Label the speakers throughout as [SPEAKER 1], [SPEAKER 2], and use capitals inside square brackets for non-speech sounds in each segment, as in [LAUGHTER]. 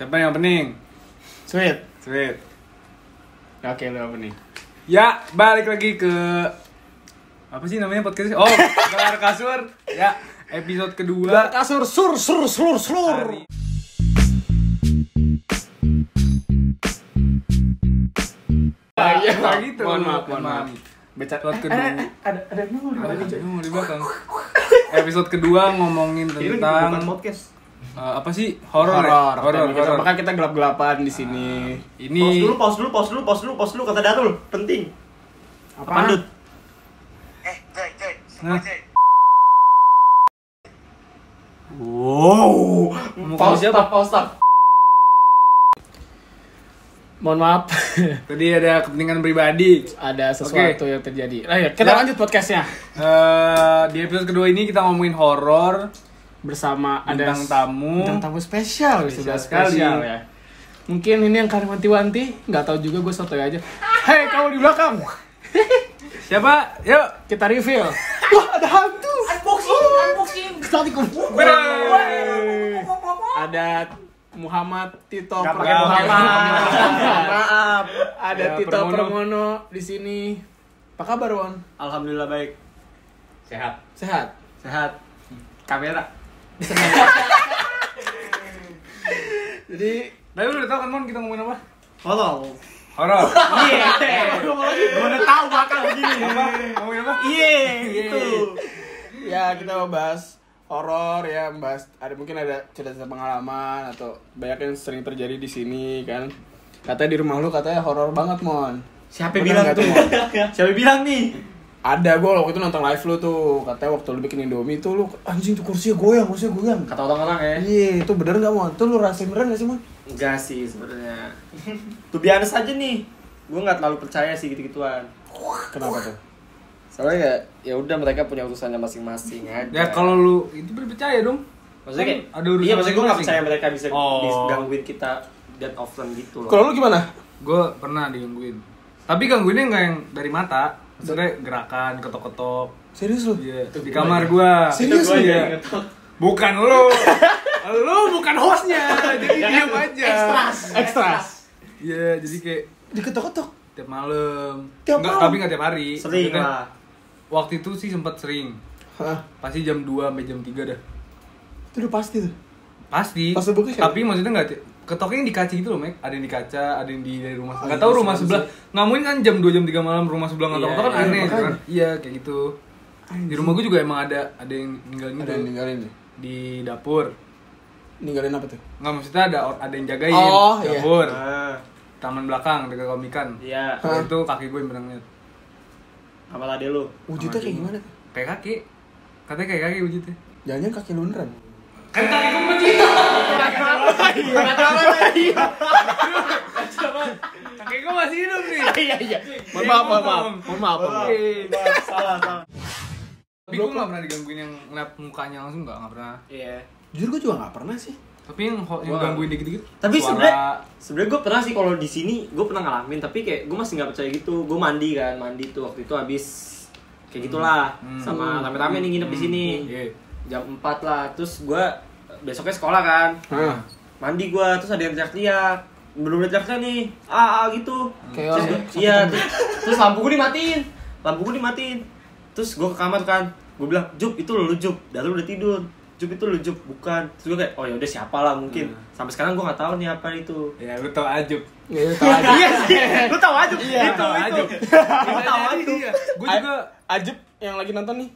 [SPEAKER 1] Siapa yang opening?
[SPEAKER 2] Sweet.
[SPEAKER 1] Sweet.
[SPEAKER 2] Oke, lu apa nih?
[SPEAKER 1] Ya, balik lagi ke apa sih namanya podcastnya? Oh, gelar kasur. Ya, episode kedua.
[SPEAKER 2] kasur sur sur slur
[SPEAKER 1] Hari-
[SPEAKER 2] slur. Ah, iya.
[SPEAKER 1] Nah, gitu.
[SPEAKER 2] Mohon maaf, mohon maaf. Becak.
[SPEAKER 1] Episode kedua.
[SPEAKER 2] Ada ada nol di mana, Cok?
[SPEAKER 1] Ini mau di belakang. Episode kedua ngomongin
[SPEAKER 3] Ini
[SPEAKER 1] tentang
[SPEAKER 3] kan bukan podcast.
[SPEAKER 1] eh, apa sih horor ya?
[SPEAKER 2] Horor,
[SPEAKER 1] horor,
[SPEAKER 2] horor.
[SPEAKER 1] horor.
[SPEAKER 2] Maka kita gelap-gelapan di sini.
[SPEAKER 3] Pause
[SPEAKER 1] Ini
[SPEAKER 3] dulu, pause dulu, pause dulu, pause dulu kata Darul, penting.
[SPEAKER 2] Apaan?
[SPEAKER 3] Dut?
[SPEAKER 4] Eh, Joy, Joy, semua
[SPEAKER 1] Hah?
[SPEAKER 4] Joy.
[SPEAKER 2] Wow.
[SPEAKER 1] muka
[SPEAKER 2] Pause stop, pause stop. Mohon maaf, [LAUGHS]
[SPEAKER 1] tadi ada kepentingan pribadi.
[SPEAKER 2] ada sesuatu yang terjadi. Nah, ya, kita
[SPEAKER 1] Ya.
[SPEAKER 2] lanjut podcastnya
[SPEAKER 1] Eh, di episode kedua ini kita ngomongin horor.
[SPEAKER 2] bersama ada
[SPEAKER 1] Bintang tamu.
[SPEAKER 2] bintang tamu spesial,
[SPEAKER 1] Spesial
[SPEAKER 2] sudah
[SPEAKER 1] sekali.
[SPEAKER 2] spesial ya. Mungkin ini yang kalian wanti-wanti, nggak tahu juga gue sotoy aja. Hei, kamu di [LAUGHS] belakang,
[SPEAKER 1] Siapa? Yuk.
[SPEAKER 2] kita [LAUGHS] reveal. Wah, ada hantu. Unboxing, unboxing. Ada Muhammad Tito
[SPEAKER 1] Nggak pakai
[SPEAKER 2] Pramono.
[SPEAKER 1] Muhammad.
[SPEAKER 3] Maaf.
[SPEAKER 2] Ada
[SPEAKER 1] Ya,
[SPEAKER 2] Tito
[SPEAKER 1] Pramono.
[SPEAKER 2] Permono di sini. Apa kabar, Wan?
[SPEAKER 3] Alhamdulillah baik. Sehat.
[SPEAKER 2] Sehat.
[SPEAKER 3] Sehat.
[SPEAKER 1] [LAUGHS] Kamera.
[SPEAKER 2] Jadi
[SPEAKER 1] Tapi lu udah tau kan Mon kita ngomongin apa?
[SPEAKER 3] Tolol.
[SPEAKER 1] Horor.
[SPEAKER 3] Eh, Gimana tahu Iya, bakal begini.
[SPEAKER 1] apa? Ngomongin apa?
[SPEAKER 2] Iya,
[SPEAKER 1] Iya.
[SPEAKER 3] Iye,
[SPEAKER 2] gitu.
[SPEAKER 3] itu.
[SPEAKER 2] ya kita mau bahas horor ya, bahas ada mungkin ada cerita-cerita pengalaman atau banyak yang sering terjadi di sini kan. Katanya di rumah lu katanya horor banget, Mon.
[SPEAKER 3] Siapa
[SPEAKER 2] Bener
[SPEAKER 3] bilang
[SPEAKER 2] nggak
[SPEAKER 3] tuh?
[SPEAKER 2] Mon?
[SPEAKER 3] Siapa bilang nih?
[SPEAKER 2] Ada gue waktu itu nonton live lu tuh, katanya waktu lu bikin Indomie tuh lu anjing tuh kursinya goyang, kursinya goyang.
[SPEAKER 1] Kata orang-orang ya.
[SPEAKER 3] eh.
[SPEAKER 2] Iya, itu bener gak Mon? Itu lu rasain bener gak sih Mon?
[SPEAKER 3] Enggak sih sebenarnya. Tuh biasa saja nih. Gue nggak terlalu percaya sih gitu-gituan.
[SPEAKER 2] Kenapa tuh?
[SPEAKER 3] Soalnya ya, ya udah mereka punya urusannya masing-masing aja.
[SPEAKER 1] Ya kalau lu itu percaya dong.
[SPEAKER 3] maksudnya kayak
[SPEAKER 1] Kan ada urusan
[SPEAKER 3] iya maksudnya gue nggak
[SPEAKER 1] masing-masing.
[SPEAKER 3] percaya mereka bisa
[SPEAKER 1] Oh.
[SPEAKER 3] bisa gangguin kita dan offline gitu loh.
[SPEAKER 2] Kalau lu gimana?
[SPEAKER 1] Gue pernah digangguin. Tapi gangguinnya nggak yang dari mata. Maksudnya gerakan, ketok-ketok.
[SPEAKER 2] Serius lu?
[SPEAKER 1] Iya. Di kamar gua.
[SPEAKER 2] Serius lu? ya?
[SPEAKER 1] Iya.
[SPEAKER 3] ya.
[SPEAKER 1] Bukan lu. lu bukan hostnya. Jadi diam aja.
[SPEAKER 2] Ekstra.
[SPEAKER 1] Iya, jadi kayak
[SPEAKER 2] Diketok-ketok.
[SPEAKER 1] tiap malam.
[SPEAKER 2] Tiap
[SPEAKER 1] Nggak,
[SPEAKER 2] malam?
[SPEAKER 1] tapi nggak tiap hari.
[SPEAKER 3] sering
[SPEAKER 1] Maksudnya,
[SPEAKER 3] lah.
[SPEAKER 1] Waktu itu sih sempat sering.
[SPEAKER 2] Hah,
[SPEAKER 1] Pasti jam 2 sampai jam 3 dah.
[SPEAKER 2] itu udah pasti tuh.
[SPEAKER 1] Pasti.
[SPEAKER 2] Pas dibuka siapa?
[SPEAKER 1] Tapi maksudnya nggak ti- ketoknya yang di kaca gitu loh, Mek. Ada yang di kaca, ada yang di dari
[SPEAKER 3] Oh,
[SPEAKER 1] rumah. Enggak tahu rumah sebelah. Nggak mungkin kan jam 2 jam 3 malam rumah sebelah nggak tahu
[SPEAKER 3] Iya,
[SPEAKER 1] kan
[SPEAKER 3] iya,
[SPEAKER 1] aneh gitu
[SPEAKER 2] makanya.
[SPEAKER 1] kan. Iya, kayak gitu. Di rumah gue juga emang ada ada yang ninggalin gitu.
[SPEAKER 2] Ada yang ninggalin nih.
[SPEAKER 1] di dapur.
[SPEAKER 2] Ninggalin apa tuh?
[SPEAKER 1] Nggak maksudnya ada or- ada yang jagain
[SPEAKER 2] Oh, iya.
[SPEAKER 1] dapur.
[SPEAKER 3] Ah,
[SPEAKER 1] Taman belakang dekat komikan.
[SPEAKER 3] iya.
[SPEAKER 1] Waktu Itu kaki gue yang benangnya.
[SPEAKER 3] Apa tadi [LAUGHS] lu?
[SPEAKER 2] Wujudnya kayak gimana?
[SPEAKER 1] Kayak kaki. Katanya kayak kaki wujudnya.
[SPEAKER 2] Jangan-jangan kaki lu beneran.
[SPEAKER 1] Kan kaki gue kecil. Kaki gue masih hidup nih. Iya,
[SPEAKER 2] Iya, iya.
[SPEAKER 1] Mohon maaf, mohon maaf.
[SPEAKER 2] Mohon maaf,
[SPEAKER 3] Maaf, salah, salah.
[SPEAKER 1] Tapi gue gak pernah digangguin yang ngeliat mukanya langsung gak, nggak pernah
[SPEAKER 3] Iya.
[SPEAKER 2] Jujur gue juga gak pernah sih.
[SPEAKER 1] Tapi yang, ho- yang
[SPEAKER 3] Wah.
[SPEAKER 1] gangguin dikit-dikit
[SPEAKER 3] Tapi
[SPEAKER 1] suara.
[SPEAKER 3] sebenernya sebenernya gue pernah sih kalau di sini gue pernah ngalamin tapi kayak gue masih nggak percaya gitu. Gue mandi kan, mandi tuh waktu itu habis kayak gitulah
[SPEAKER 1] Hmm.
[SPEAKER 3] sama rame-rame nih nginep di
[SPEAKER 1] Hmm.
[SPEAKER 3] sini.
[SPEAKER 1] Iya.
[SPEAKER 3] Jam 4 lah. Terus gue besoknya sekolah kan.
[SPEAKER 2] Hah.
[SPEAKER 3] Mandi gue terus ada yang teriak-teriak. Belum ada teriaknya nih. Ah, ah gitu.
[SPEAKER 2] Kayak
[SPEAKER 3] Terus
[SPEAKER 2] orang
[SPEAKER 3] gua- iya terus, terus lampu gue dimatiin lampu gue dimatiin terus gue ke kamar kan gue bilang Jup itu lu Jup dan lu udah tidur Jup itu lu Jup bukan terus gue kayak oh ya udah siapa lah mungkin sampai sekarang gue nggak tahu nih apa itu
[SPEAKER 1] Ya lu tau ajub
[SPEAKER 2] Ya, ya, [LAUGHS] tahu aja.
[SPEAKER 3] iya sih [LAUGHS] Iya. lu tahu aja itu
[SPEAKER 1] Tau
[SPEAKER 3] itu
[SPEAKER 1] ajub
[SPEAKER 3] Lu tahu aja
[SPEAKER 1] Gue juga
[SPEAKER 2] Ajib yang lagi nonton nih.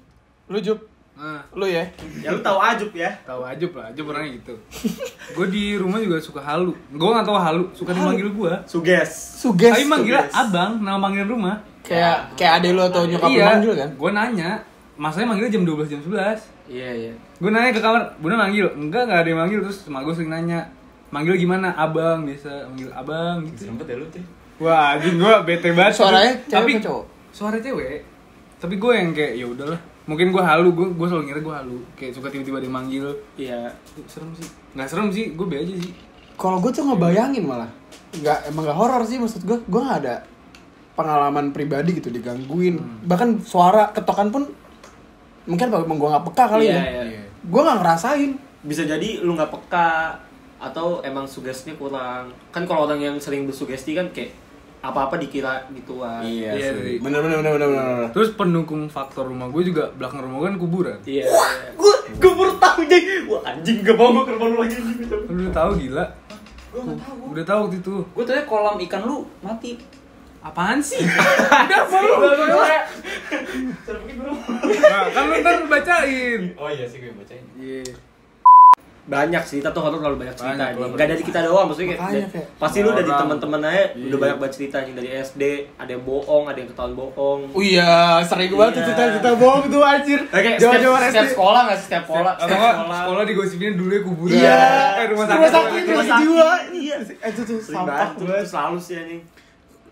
[SPEAKER 2] Lu Jup,
[SPEAKER 1] Nah,
[SPEAKER 2] lu ya.
[SPEAKER 3] ya lu tahu aja ya
[SPEAKER 1] tau ajub lah, ajub orangnya gitu Gue di rumah juga suka halu Gue gak tau halu, suka dimanggil gue
[SPEAKER 3] suges
[SPEAKER 2] Suges.
[SPEAKER 1] Tapi manggilnya
[SPEAKER 3] suges.
[SPEAKER 1] abang, nama manggil rumah
[SPEAKER 2] kayak kayak ade lu atau nyokap lu manggil kan?
[SPEAKER 1] gue Iya, nanya Masanya manggilnya jam 12, jam 11
[SPEAKER 3] iya iya
[SPEAKER 1] gue nanya ke kamar bunda manggil enggak enggak ada yang manggil terus emak gue sering nanya manggil gimana abang biasa manggil abang gitu sempet ya lu tuh wah anjing gue bete banget
[SPEAKER 2] Suaranya cewek
[SPEAKER 1] tapi
[SPEAKER 2] apa cowok?
[SPEAKER 1] suara cewek tapi gue yang kayak ya udahlah mungkin gue halu gue gue selalu ngira gue halu kayak suka tiba-tiba ada yang manggil
[SPEAKER 3] iya
[SPEAKER 1] Ih, serem sih nggak serem sih gue be aja sih
[SPEAKER 2] Kalau gue tuh ngebayangin malah. Nggak, emang gak horor sih maksud gue. Gue gak ada pengalaman pribadi gitu digangguin. Bahkan suara ketokan pun mungkin apa emang gue gak peka kali
[SPEAKER 3] Iya,
[SPEAKER 2] ya.
[SPEAKER 3] iya.
[SPEAKER 2] Gue gak ngerasain.
[SPEAKER 3] bisa jadi lu nggak peka atau emang sugestinya kurang kan kalau orang yang sering bersugesti kan kayak apa-apa dikira gituan
[SPEAKER 2] Iya,
[SPEAKER 1] Iya,
[SPEAKER 2] sih.
[SPEAKER 1] dari-
[SPEAKER 2] Bener bener bener bener bener. bener.
[SPEAKER 1] Terus pendukung faktor rumah gue juga belakang rumah gue kan kuburan.
[SPEAKER 3] iya gue gue baru tahu jadi wah anjing gak mau gue ke rumah lu lagi
[SPEAKER 1] Lu udah tahu gila.
[SPEAKER 5] Gue nggak tahu.
[SPEAKER 1] Udah tahu waktu itu.
[SPEAKER 5] Gue tanya kolam ikan lu mati. Apaan
[SPEAKER 1] [LAUGHS]
[SPEAKER 5] sih?
[SPEAKER 1] Nah, kan lu ntar bacain.
[SPEAKER 5] oh iya sih gue bacain.
[SPEAKER 1] Iya.
[SPEAKER 3] banyak cerita tuh horor terlalu banyak cerita
[SPEAKER 1] Banyak,
[SPEAKER 3] nih.
[SPEAKER 1] banyak.
[SPEAKER 3] Gak dari kita doang maksudnya kayak,
[SPEAKER 2] Makanya,
[SPEAKER 3] dari-
[SPEAKER 2] kayak
[SPEAKER 3] pasti lu dari
[SPEAKER 1] orang.
[SPEAKER 3] teman-teman aja
[SPEAKER 1] Iya.
[SPEAKER 3] udah banyak banget ceritanya dari SD ada yang bohong ada yang ketahuan bohong
[SPEAKER 2] Oh iya, sering banget
[SPEAKER 3] Iya.
[SPEAKER 2] cerita cerita bohong tuh anjir.
[SPEAKER 3] Oke,
[SPEAKER 2] Jawa
[SPEAKER 3] step-
[SPEAKER 2] Jawa
[SPEAKER 5] Setiap sekolah nggak sih? setiap sekolah.
[SPEAKER 1] Atau nggak, sekolah digosipin dulu ya kuburan.
[SPEAKER 2] Iya.
[SPEAKER 1] Eh, rumah sakit.
[SPEAKER 2] Rumah sakit, rumah
[SPEAKER 3] rumah
[SPEAKER 2] sakit
[SPEAKER 3] sakit.
[SPEAKER 2] jiwa.
[SPEAKER 3] Iya.
[SPEAKER 2] Itu tuh
[SPEAKER 3] sering
[SPEAKER 2] sampah
[SPEAKER 3] banget tuh,
[SPEAKER 2] banget.
[SPEAKER 3] tuh selalu sih anjing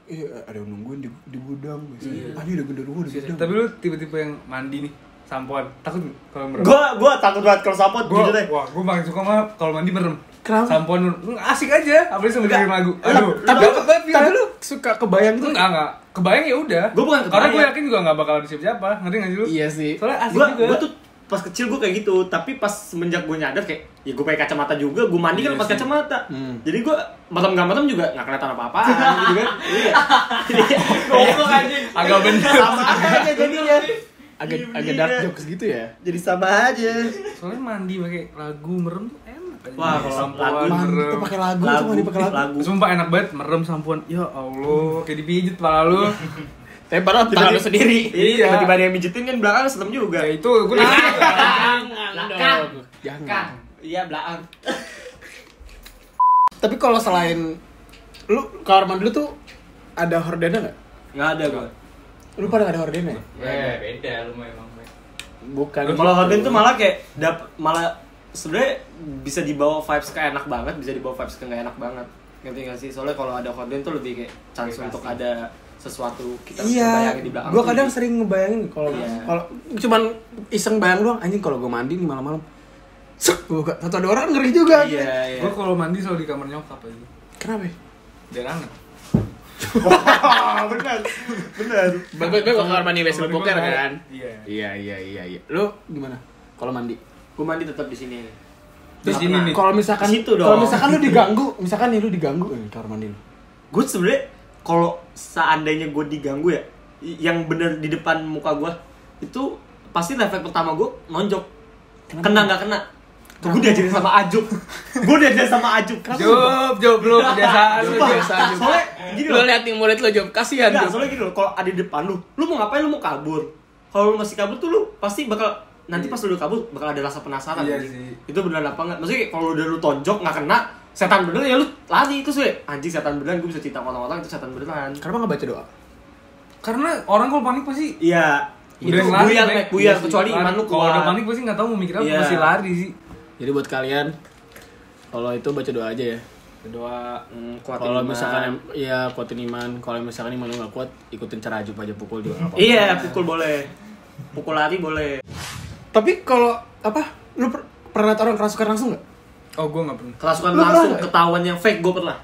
[SPEAKER 2] Iya, ada yang nungguin di, di gudang biasanya. Ah, ini udah genderuwo di gudang.
[SPEAKER 1] Tapi lu tipe-tipe yang mandi nih, sampoan. Takut nggak kalau merem?
[SPEAKER 3] gue gue takut banget kalau sapot
[SPEAKER 1] Gua,
[SPEAKER 3] jujur gitu deh
[SPEAKER 1] wah, gue paling suka mah kalau mandi merem.
[SPEAKER 2] Kenapa?
[SPEAKER 1] Sampoan merem. Hmm, asik aja, apalagi sambil dengerin lagu. Aduh,
[SPEAKER 2] tapi
[SPEAKER 1] dapet banget
[SPEAKER 2] tapi
[SPEAKER 1] feelnya.
[SPEAKER 2] lu suka kebayang tuh
[SPEAKER 1] enggak enggak. Kebayang ya udah.
[SPEAKER 3] Gua bukan
[SPEAKER 1] Karena gue
[SPEAKER 3] kebayang.
[SPEAKER 1] yakin juga nggak bakal ada siapa-siapa. Ngerti nggak sih lu?
[SPEAKER 2] Iya sih.
[SPEAKER 1] Soalnya asik
[SPEAKER 3] gue
[SPEAKER 1] juga.
[SPEAKER 3] gue tuh pas kecil gue kayak gitu tapi pas semenjak gue nyadar kayak ya gue pakai kacamata juga gue mandi kan
[SPEAKER 1] Iya
[SPEAKER 3] pas
[SPEAKER 1] sih.
[SPEAKER 3] kacamata
[SPEAKER 2] Hmm.
[SPEAKER 3] jadi gue matam nggak matam juga nggak kelihatan apa apaan gitu kan iya
[SPEAKER 5] Goblok anjing.
[SPEAKER 1] agak bener.
[SPEAKER 3] sama aja jadinya
[SPEAKER 2] Agak
[SPEAKER 3] Iya,
[SPEAKER 2] agak
[SPEAKER 3] iya.
[SPEAKER 2] dark jokes gitu ya.
[SPEAKER 3] jadi sama aja
[SPEAKER 1] Soalnya mandi pakai lagu merem tuh enak. aja.
[SPEAKER 3] Wah, kalau
[SPEAKER 1] Sampoan
[SPEAKER 3] lagu
[SPEAKER 2] Mandi
[SPEAKER 1] merem.
[SPEAKER 2] tuh pakai lagu, tuh mandi pakai [LAUGHS] lagu.
[SPEAKER 1] Sumpah enak banget merem sampoan. Ya Allah, kayak dipijit pala
[SPEAKER 3] [LAUGHS]
[SPEAKER 1] lu.
[SPEAKER 2] Tapi Eh, padahal tangan lu sendiri.
[SPEAKER 1] Iya.
[SPEAKER 3] Iya, tiba-tiba ada yang mijitin kan belakang serem juga.
[SPEAKER 1] ya itu gue nangis.
[SPEAKER 5] Belakang.
[SPEAKER 2] Jangan.
[SPEAKER 5] Belakang. Iya belakang.
[SPEAKER 2] Tapi kalau selain lu kamar mandi lu tuh ada hordena nggak?
[SPEAKER 3] Enggak ada gua.
[SPEAKER 2] Lu pada nggak ada hordena? ya?
[SPEAKER 5] Ya beda lu mah emang.
[SPEAKER 2] Bukan.
[SPEAKER 3] Kalau Horden tuh malah kayak dap malah sebenarnya bisa dibawa vibes ke enak banget, bisa dibawa vibes ke nggak enak banget. Ngerti nggak sih? Soalnya kalau ada Horden tuh lebih kayak chance
[SPEAKER 5] Bebas.
[SPEAKER 3] untuk ada sesuatu kita bisa
[SPEAKER 2] Iya,
[SPEAKER 3] bayangin di belakang.
[SPEAKER 2] gua
[SPEAKER 3] tuh gitu.
[SPEAKER 2] kadang
[SPEAKER 3] lebih-
[SPEAKER 2] sering ngebayangin kalau
[SPEAKER 3] Iya.
[SPEAKER 2] kalau cuman iseng bayang doang anjing kalau gua mandi nih malam-malam. Sek, gua buka. Tato ada orang ngeri juga.
[SPEAKER 3] Iya,
[SPEAKER 2] [LAUGHS]
[SPEAKER 3] iya.
[SPEAKER 1] Gue kalau mandi selalu di kamar nyokap aja.
[SPEAKER 2] Kenapa? ya?
[SPEAKER 1] Biar anget.
[SPEAKER 3] Ah, benar. Benar.
[SPEAKER 2] Bagus bagus kamar mandi wes boker kan.
[SPEAKER 1] Iya.
[SPEAKER 2] Iya iya iya iya. Lu gimana? Kalau mandi?
[SPEAKER 3] Gua mandi tetap di sini.
[SPEAKER 1] Di sini nih.
[SPEAKER 2] Kalau misalkan
[SPEAKER 3] Di situ dong.
[SPEAKER 2] kalau misalkan lu diganggu, misalkan nih lu diganggu eh, kamar mandi lu.
[SPEAKER 3] Gue sebenarnya kalau seandainya gue diganggu ya, i- yang bener di depan muka gua itu pasti refleks pertama gue nonjok. Kena nggak kena? Gue diajarin sama Ajub. Gue diajarin sama Ajub.
[SPEAKER 1] Job, job lu kebiasaan lu.
[SPEAKER 3] Sumpah,
[SPEAKER 1] Job.
[SPEAKER 3] soalnya gini loh.
[SPEAKER 2] lihat yang murid lu jawab kasihan
[SPEAKER 3] Enggak, soalnya gini loh, kalau ada di depan lu, lu mau ngapain lu mau kabur. Kalau lu masih kabur tuh lu pasti bakal nanti pas lu udah kabur bakal ada rasa penasaran
[SPEAKER 1] Iya
[SPEAKER 3] anjing.
[SPEAKER 1] sih.
[SPEAKER 3] Itu beneran apa enggak? Maksudnya kayak kalau udah lu tonjok nggak kena, setan beneran ya lu lari itu sih. Anjing setan beneran gue bisa cerita ke orang-orang itu setan beneran.
[SPEAKER 2] Kenapa nggak baca doa?
[SPEAKER 1] Karena orang kalau panik pasti
[SPEAKER 3] Iya. Itu
[SPEAKER 1] yang lari,
[SPEAKER 3] buyar,
[SPEAKER 1] Mek.
[SPEAKER 3] Mek, buyar
[SPEAKER 1] Iya sih,
[SPEAKER 3] kecuali
[SPEAKER 1] lari.
[SPEAKER 3] iman lu
[SPEAKER 1] Kalau udah
[SPEAKER 3] kuat.
[SPEAKER 1] panik pasti nggak tahu mau mikir apa,
[SPEAKER 3] Iya.
[SPEAKER 1] pasti lari sih.
[SPEAKER 2] Jadi buat kalian kalau itu baca doa aja ya.
[SPEAKER 1] Berdoa.
[SPEAKER 3] Hmm, kuatin
[SPEAKER 2] Kalau
[SPEAKER 3] iman.
[SPEAKER 2] misalkan em- ya kuatin iman, kalau misalkan iman lu nggak kuat, ikutin cara aja aja pukul juga nggak apa-apa.
[SPEAKER 3] Iya, pukul boleh. Pukul lari boleh.
[SPEAKER 2] Tapi kalau apa? Lu per- pernah liat orang kerasukan langsung nggak?
[SPEAKER 1] Oh, gue nggak pernah.
[SPEAKER 3] Kerasukan
[SPEAKER 2] Lu pernah
[SPEAKER 3] langsung
[SPEAKER 2] nggak?
[SPEAKER 3] ketahuan yang fake gue pernah.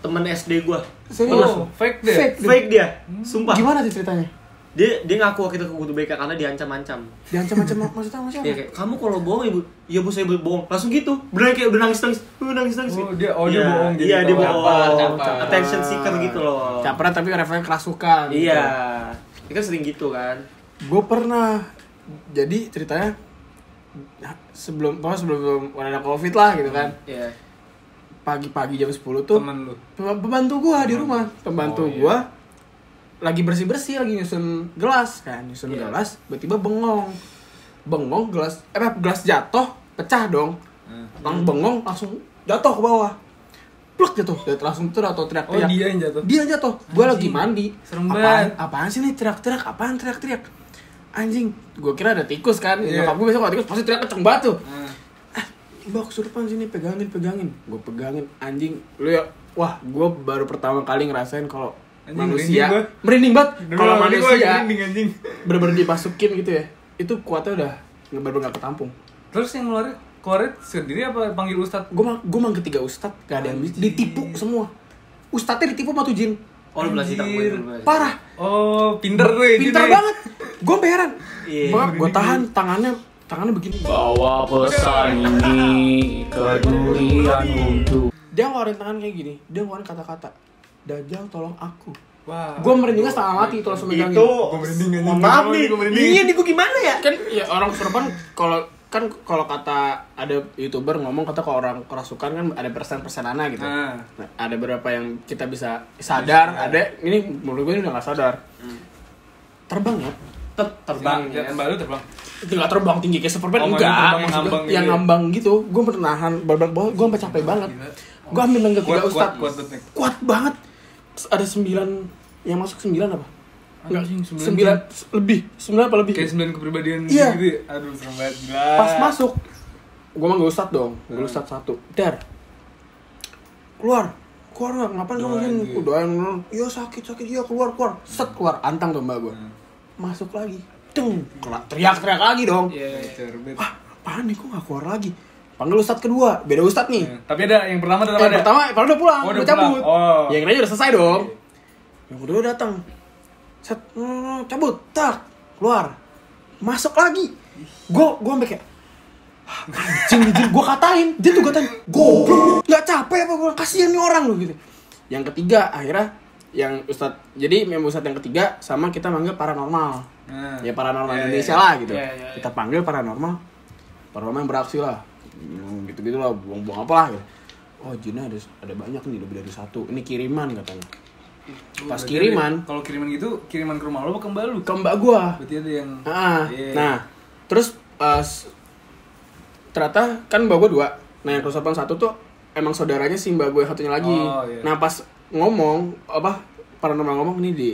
[SPEAKER 3] Temen SD gue.
[SPEAKER 2] Serius?
[SPEAKER 1] Oh, fake deh.
[SPEAKER 2] Fake.
[SPEAKER 3] Fake dia. Sumpah.
[SPEAKER 2] Gimana tuh ceritanya?
[SPEAKER 3] Dia dia ngaku waktu itu ke Kutu BK karena diancam-ancam.
[SPEAKER 2] [LAUGHS] Diancam-ancam maksudnya sama siapa?
[SPEAKER 3] Iya kayak kamu kalau bohong ibu, iya bu saya bohong. Langsung gitu, benar kayak udah nangis nangis, udah nangis nangis.
[SPEAKER 1] Oh, dia- oh, dia
[SPEAKER 3] Iya,
[SPEAKER 1] bohong jadi
[SPEAKER 3] Iya dia
[SPEAKER 1] ketahuan.
[SPEAKER 3] bohong.
[SPEAKER 5] Capar, capar.
[SPEAKER 3] Attention seeker gitu loh.
[SPEAKER 2] Caperan tapi refleks kerasukan. gitu.
[SPEAKER 3] Iya, dia kan sering gitu kan.
[SPEAKER 2] Gue pernah. Jadi ceritanya sebelum pokoknya sebelum, sebelum ada covid lah gitu kan
[SPEAKER 3] Iya.
[SPEAKER 2] pagi-pagi jam 10 tuh
[SPEAKER 1] Temen lu.
[SPEAKER 2] Pem- pembantu gua di rumah
[SPEAKER 1] Oh,
[SPEAKER 2] pembantu
[SPEAKER 1] iya.
[SPEAKER 2] gua lagi bersih bersih lagi nyusun gelas kan nyusun
[SPEAKER 3] Iya.
[SPEAKER 2] gelas tiba-tiba bengong bengong gelas eh apa, gelas jatuh pecah dong
[SPEAKER 1] Hmm.
[SPEAKER 2] orang bengong langsung jatuh ke bawah pluk jatuh dan langsung tuh atau
[SPEAKER 1] Oh,
[SPEAKER 2] teriak-teriak
[SPEAKER 1] dia yang jatuh.
[SPEAKER 2] Iya. dia jatuh gue lagi
[SPEAKER 1] Anjing.
[SPEAKER 2] mandi
[SPEAKER 1] Serem
[SPEAKER 2] apaan,
[SPEAKER 1] banget.
[SPEAKER 2] apaan sih nih teriak-teriak apaan teriak-teriak anjing gue kira ada tikus kan
[SPEAKER 1] Iya.
[SPEAKER 2] nyokap gue biasanya kalau tikus pasti teriak kenceng banget tuh
[SPEAKER 1] Ah.
[SPEAKER 2] Mbak kesurupan sini pegangin pegangin gue pegangin anjing lu ya wah gue baru pertama kali ngerasain kalau
[SPEAKER 1] Anjing,
[SPEAKER 2] manusia
[SPEAKER 1] merinding gua.
[SPEAKER 2] merinding banget
[SPEAKER 1] Demi
[SPEAKER 2] kalau
[SPEAKER 1] Allah, ini gua lagi
[SPEAKER 2] manusia
[SPEAKER 1] merinding, anjing.
[SPEAKER 2] bener-bener dimasukin gitu ya itu kuatnya udah bener-bener gak ketampung
[SPEAKER 1] Terus yang ngeluarin keluarin sendiri apa panggil ustad?
[SPEAKER 2] gue mang gue mang ketiga ustad gak ada yang
[SPEAKER 1] Anjir.
[SPEAKER 2] ditipu semua ustadnya ditipu sama tuh jin
[SPEAKER 3] Oh lu belas hitam gue.
[SPEAKER 1] Anjir.
[SPEAKER 3] lu belas hitam.
[SPEAKER 2] parah
[SPEAKER 1] Oh, pinter tuh ya.
[SPEAKER 2] pintar
[SPEAKER 1] Jin, ya.
[SPEAKER 2] banget gue sampai heran
[SPEAKER 3] Iya.
[SPEAKER 2] gue tahan tangannya tangannya begini
[SPEAKER 6] Bawa pesan ini ke durian untuk
[SPEAKER 2] dia ngeluarin tangan kayak gini dia ngeluarin kata-kata Dajjal tolong aku
[SPEAKER 1] Wah.
[SPEAKER 2] gue merindingnya setengah mati itu langsung megangin
[SPEAKER 3] itu
[SPEAKER 1] Gua merinding anjing.
[SPEAKER 3] mohon maaf
[SPEAKER 1] Gua
[SPEAKER 3] nih
[SPEAKER 1] merinding.
[SPEAKER 3] iya nih gue gimana ya
[SPEAKER 2] kan ya orang sorban kalau kan kalau kata ada youtuber ngomong kata kalau orang kerasukan kan ada persen persenana gitu
[SPEAKER 1] Ah. Iya.
[SPEAKER 2] Nah, ada berapa yang kita bisa sadar ada ini menurut gue ini udah nggak sadar
[SPEAKER 1] Hmm.
[SPEAKER 2] terbang ya
[SPEAKER 3] Ter- terbang
[SPEAKER 1] Terbang,
[SPEAKER 3] ya.
[SPEAKER 1] ya. yang baru terbang.
[SPEAKER 2] Tinggal terbang tinggi kayak Superman
[SPEAKER 1] Oh,
[SPEAKER 2] enggak
[SPEAKER 1] maksudnya terbang yang
[SPEAKER 2] Maksud gua,
[SPEAKER 1] ngambang gitu
[SPEAKER 2] yang
[SPEAKER 1] ya?
[SPEAKER 2] ngambang gitu gue menahan berbalik bawah gue sampai capek banget
[SPEAKER 1] Gila.
[SPEAKER 2] gue ambil nenggak
[SPEAKER 1] Kuat,
[SPEAKER 2] kuda
[SPEAKER 1] kuat,
[SPEAKER 2] ustad
[SPEAKER 1] kuat banget, Nick.
[SPEAKER 2] kuat banget Terus ada sembilan yang masuk sembilan apa Enggak,
[SPEAKER 1] Anjing, sembilan.
[SPEAKER 2] sembilan lebih sembilan apa lebih
[SPEAKER 1] Kayak sembilan kepribadian
[SPEAKER 2] Iya.
[SPEAKER 1] gitu. ya. Aduh, serem banget gila.
[SPEAKER 2] pas masuk gue mah gak ustad dong gue
[SPEAKER 1] Hmm.
[SPEAKER 2] ustad satu dar keluar keluar nggak ngapain kamu
[SPEAKER 1] Doain
[SPEAKER 2] kan
[SPEAKER 1] gitu.
[SPEAKER 2] doain lu. iya sakit sakit iya keluar keluar set keluar antang tuh mbak gue
[SPEAKER 1] Hmm.
[SPEAKER 2] masuk lagi deng teriak teriak lagi dong
[SPEAKER 1] Iya, iya, cerbet.
[SPEAKER 2] wah apaan nih kok gak keluar lagi panggil ustad kedua beda ustad nih
[SPEAKER 1] Iya. Tapi ada yang pertama tetap
[SPEAKER 2] yang
[SPEAKER 1] ada.
[SPEAKER 2] Eh, pertama padahal udah pulang
[SPEAKER 1] Oh, udah
[SPEAKER 2] udah cabut
[SPEAKER 1] pulang. Oh.
[SPEAKER 2] yang kira udah selesai dong yang kedua datang set mm, cabut tak keluar masuk lagi gue gue sampai kayak "Ah, anjing anjing gue katain dia tuh katain goblok nggak capek apa gue kasihan nih orang lu gitu yang ketiga akhirnya yang ustad jadi memang ustad yang ketiga sama kita manggil paranormal
[SPEAKER 1] Nah.
[SPEAKER 2] ya paranormal
[SPEAKER 1] Iya,
[SPEAKER 2] Indonesia
[SPEAKER 1] iya.
[SPEAKER 2] lah gitu
[SPEAKER 1] Iya, iya,
[SPEAKER 2] kita panggil paranormal paranormal yang beraksi lah Hmm, gitu-gitu lah buang-buang apa lah gitu. oh jinnya ada ada banyak nih lebih dari satu ini kiriman katanya pas
[SPEAKER 1] Berarti
[SPEAKER 2] kiriman
[SPEAKER 1] ada- Kalau kiriman gitu, kiriman ke rumah lo apa ke mbak lu?
[SPEAKER 2] ke mbak gua
[SPEAKER 1] Berarti ada yang
[SPEAKER 2] Ah,
[SPEAKER 1] Iya.
[SPEAKER 2] nah terus eh, s- ternyata kan mbak gua dua nah yang kerusakan satu tuh emang saudaranya si mbak gue satunya lagi
[SPEAKER 1] Oh, iya.
[SPEAKER 2] nah pas ngomong apa paranormal ngomong ini di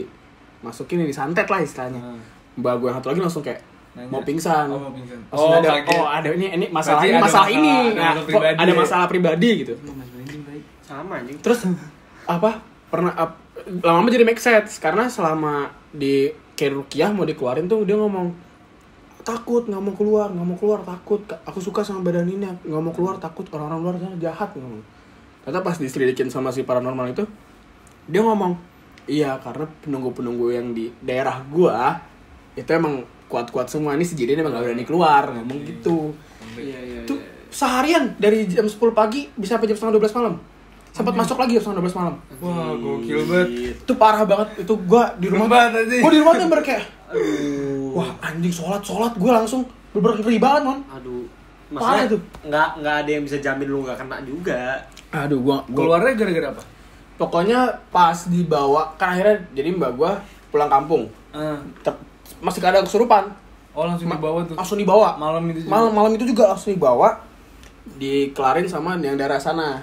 [SPEAKER 2] masukin ini disantet lah istilahnya
[SPEAKER 1] Hmm.
[SPEAKER 2] mbak gue yang satu lagi langsung kayak
[SPEAKER 1] Nanya.
[SPEAKER 2] mau pingsan
[SPEAKER 1] Oh, mau pingsan.
[SPEAKER 2] Langsung
[SPEAKER 1] Oh,
[SPEAKER 2] ada,
[SPEAKER 1] kaget.
[SPEAKER 2] oh ada ini ini masalah
[SPEAKER 1] Berarti
[SPEAKER 2] ini
[SPEAKER 1] ada
[SPEAKER 2] masalah
[SPEAKER 1] masalah-
[SPEAKER 2] ini
[SPEAKER 1] ada
[SPEAKER 2] Nah,
[SPEAKER 1] masalah
[SPEAKER 2] kok
[SPEAKER 1] pribadi
[SPEAKER 2] ada
[SPEAKER 1] ya?
[SPEAKER 2] masalah pribadi gitu
[SPEAKER 3] sama anjing
[SPEAKER 2] terus apa pernah ap- lama-lama jadi make sense karena selama di kayak Rukiah mau dikeluarin tuh dia ngomong takut nggak mau keluar nggak mau keluar takut Ka- aku suka sama badan ini nggak mau keluar takut orang-orang luar sana jahat dia ngomong ternyata pas diselidikin sama si paranormal itu dia ngomong iya karena penunggu-penunggu yang di daerah gua itu emang kuat-kuat semua ini si Jirin emang gak berani keluar ngomong gitu
[SPEAKER 3] iya iya
[SPEAKER 2] itu seharian dari jam 10 pagi bisa sampai jam setengah 12 malam sempat masuk lagi jam setengah 12 malam
[SPEAKER 1] Wah, gokil banget.
[SPEAKER 2] itu parah banget itu gua di rumah
[SPEAKER 1] Banget, anjing.
[SPEAKER 2] gua di rumah tuh berkayak wah anjing sholat sholat gua langsung berber ngeri banget mon
[SPEAKER 3] aduh
[SPEAKER 2] Parah
[SPEAKER 3] maksudnya
[SPEAKER 2] tuh.
[SPEAKER 3] nggak nggak ada yang bisa jamin lu nggak kena juga
[SPEAKER 2] aduh gua,
[SPEAKER 1] Keluarnya gara-gara apa?
[SPEAKER 2] pokoknya pas dibawa kan akhirnya jadi mbak gua pulang kampung
[SPEAKER 1] Ah.
[SPEAKER 2] Ter- masih keadaan kesurupan
[SPEAKER 1] Oh, langsung
[SPEAKER 2] Ma-
[SPEAKER 1] dibawa tuh.
[SPEAKER 2] langsung dibawa
[SPEAKER 1] Malam itu juga.
[SPEAKER 2] malam malam itu juga langsung dibawa dikelarin sama yang daerah sana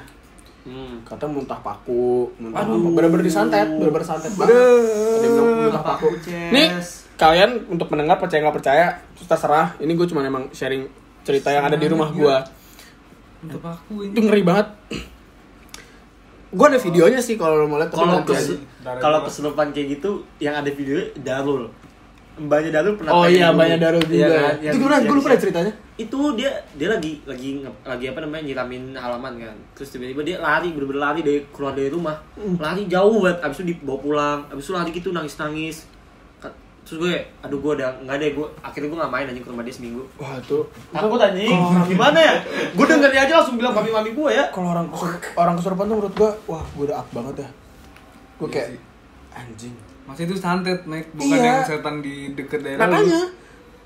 [SPEAKER 3] hmm.
[SPEAKER 2] kata muntah paku muntah paku bener-bener disantet bener-bener santet banget ada yang bilang muntah paku
[SPEAKER 3] Ces.
[SPEAKER 2] nih kalian untuk mendengar percaya nggak percaya terus terserah ini gue cuma emang sharing cerita yang ada di rumah gue
[SPEAKER 1] Untuk aku
[SPEAKER 2] itu
[SPEAKER 1] ini.
[SPEAKER 2] ngeri banget [CLEARS THROAT] gue ada videonya sih kalau lo mau lihat tapi
[SPEAKER 3] kalau
[SPEAKER 2] nanti aja.
[SPEAKER 3] kes kalau keselupan kayak gitu yang ada video Darul mbaknya Darul pernah
[SPEAKER 2] oh
[SPEAKER 3] tanya
[SPEAKER 2] iya
[SPEAKER 3] dulu.
[SPEAKER 2] banyak darul juga
[SPEAKER 3] Iya kan?
[SPEAKER 2] ya.
[SPEAKER 3] Yang-
[SPEAKER 2] itu gimana
[SPEAKER 3] yang
[SPEAKER 2] gue lupa
[SPEAKER 3] bisa-
[SPEAKER 2] deh ceritanya
[SPEAKER 3] itu dia dia lagi lagi nge- lagi apa namanya nyiramin halaman kan terus tiba-tiba dia lari bener-bener lari dari keluar dari rumah
[SPEAKER 2] Hmm.
[SPEAKER 3] lari jauh banget abis itu dibawa pulang abis itu lari gitu nangis nangis terus gue kayak, aduh gue udah nggak deh gue akhirnya gue nggak main anjing ke rumah dia seminggu
[SPEAKER 2] wah itu
[SPEAKER 3] takut anjing gimana ya gue dengernya aja langsung bilang mami mami gue ya
[SPEAKER 2] kalau
[SPEAKER 1] Oh,
[SPEAKER 2] orang kesur- orang kesurupan tuh menurut gue wah gue udah up banget ya gue
[SPEAKER 1] Iya
[SPEAKER 2] kayak
[SPEAKER 1] sih.
[SPEAKER 2] anjing
[SPEAKER 1] Masih itu santet, Nek. Bukan yang
[SPEAKER 2] Iya.
[SPEAKER 1] setan di deket daerah. Eh, lu.
[SPEAKER 2] makanya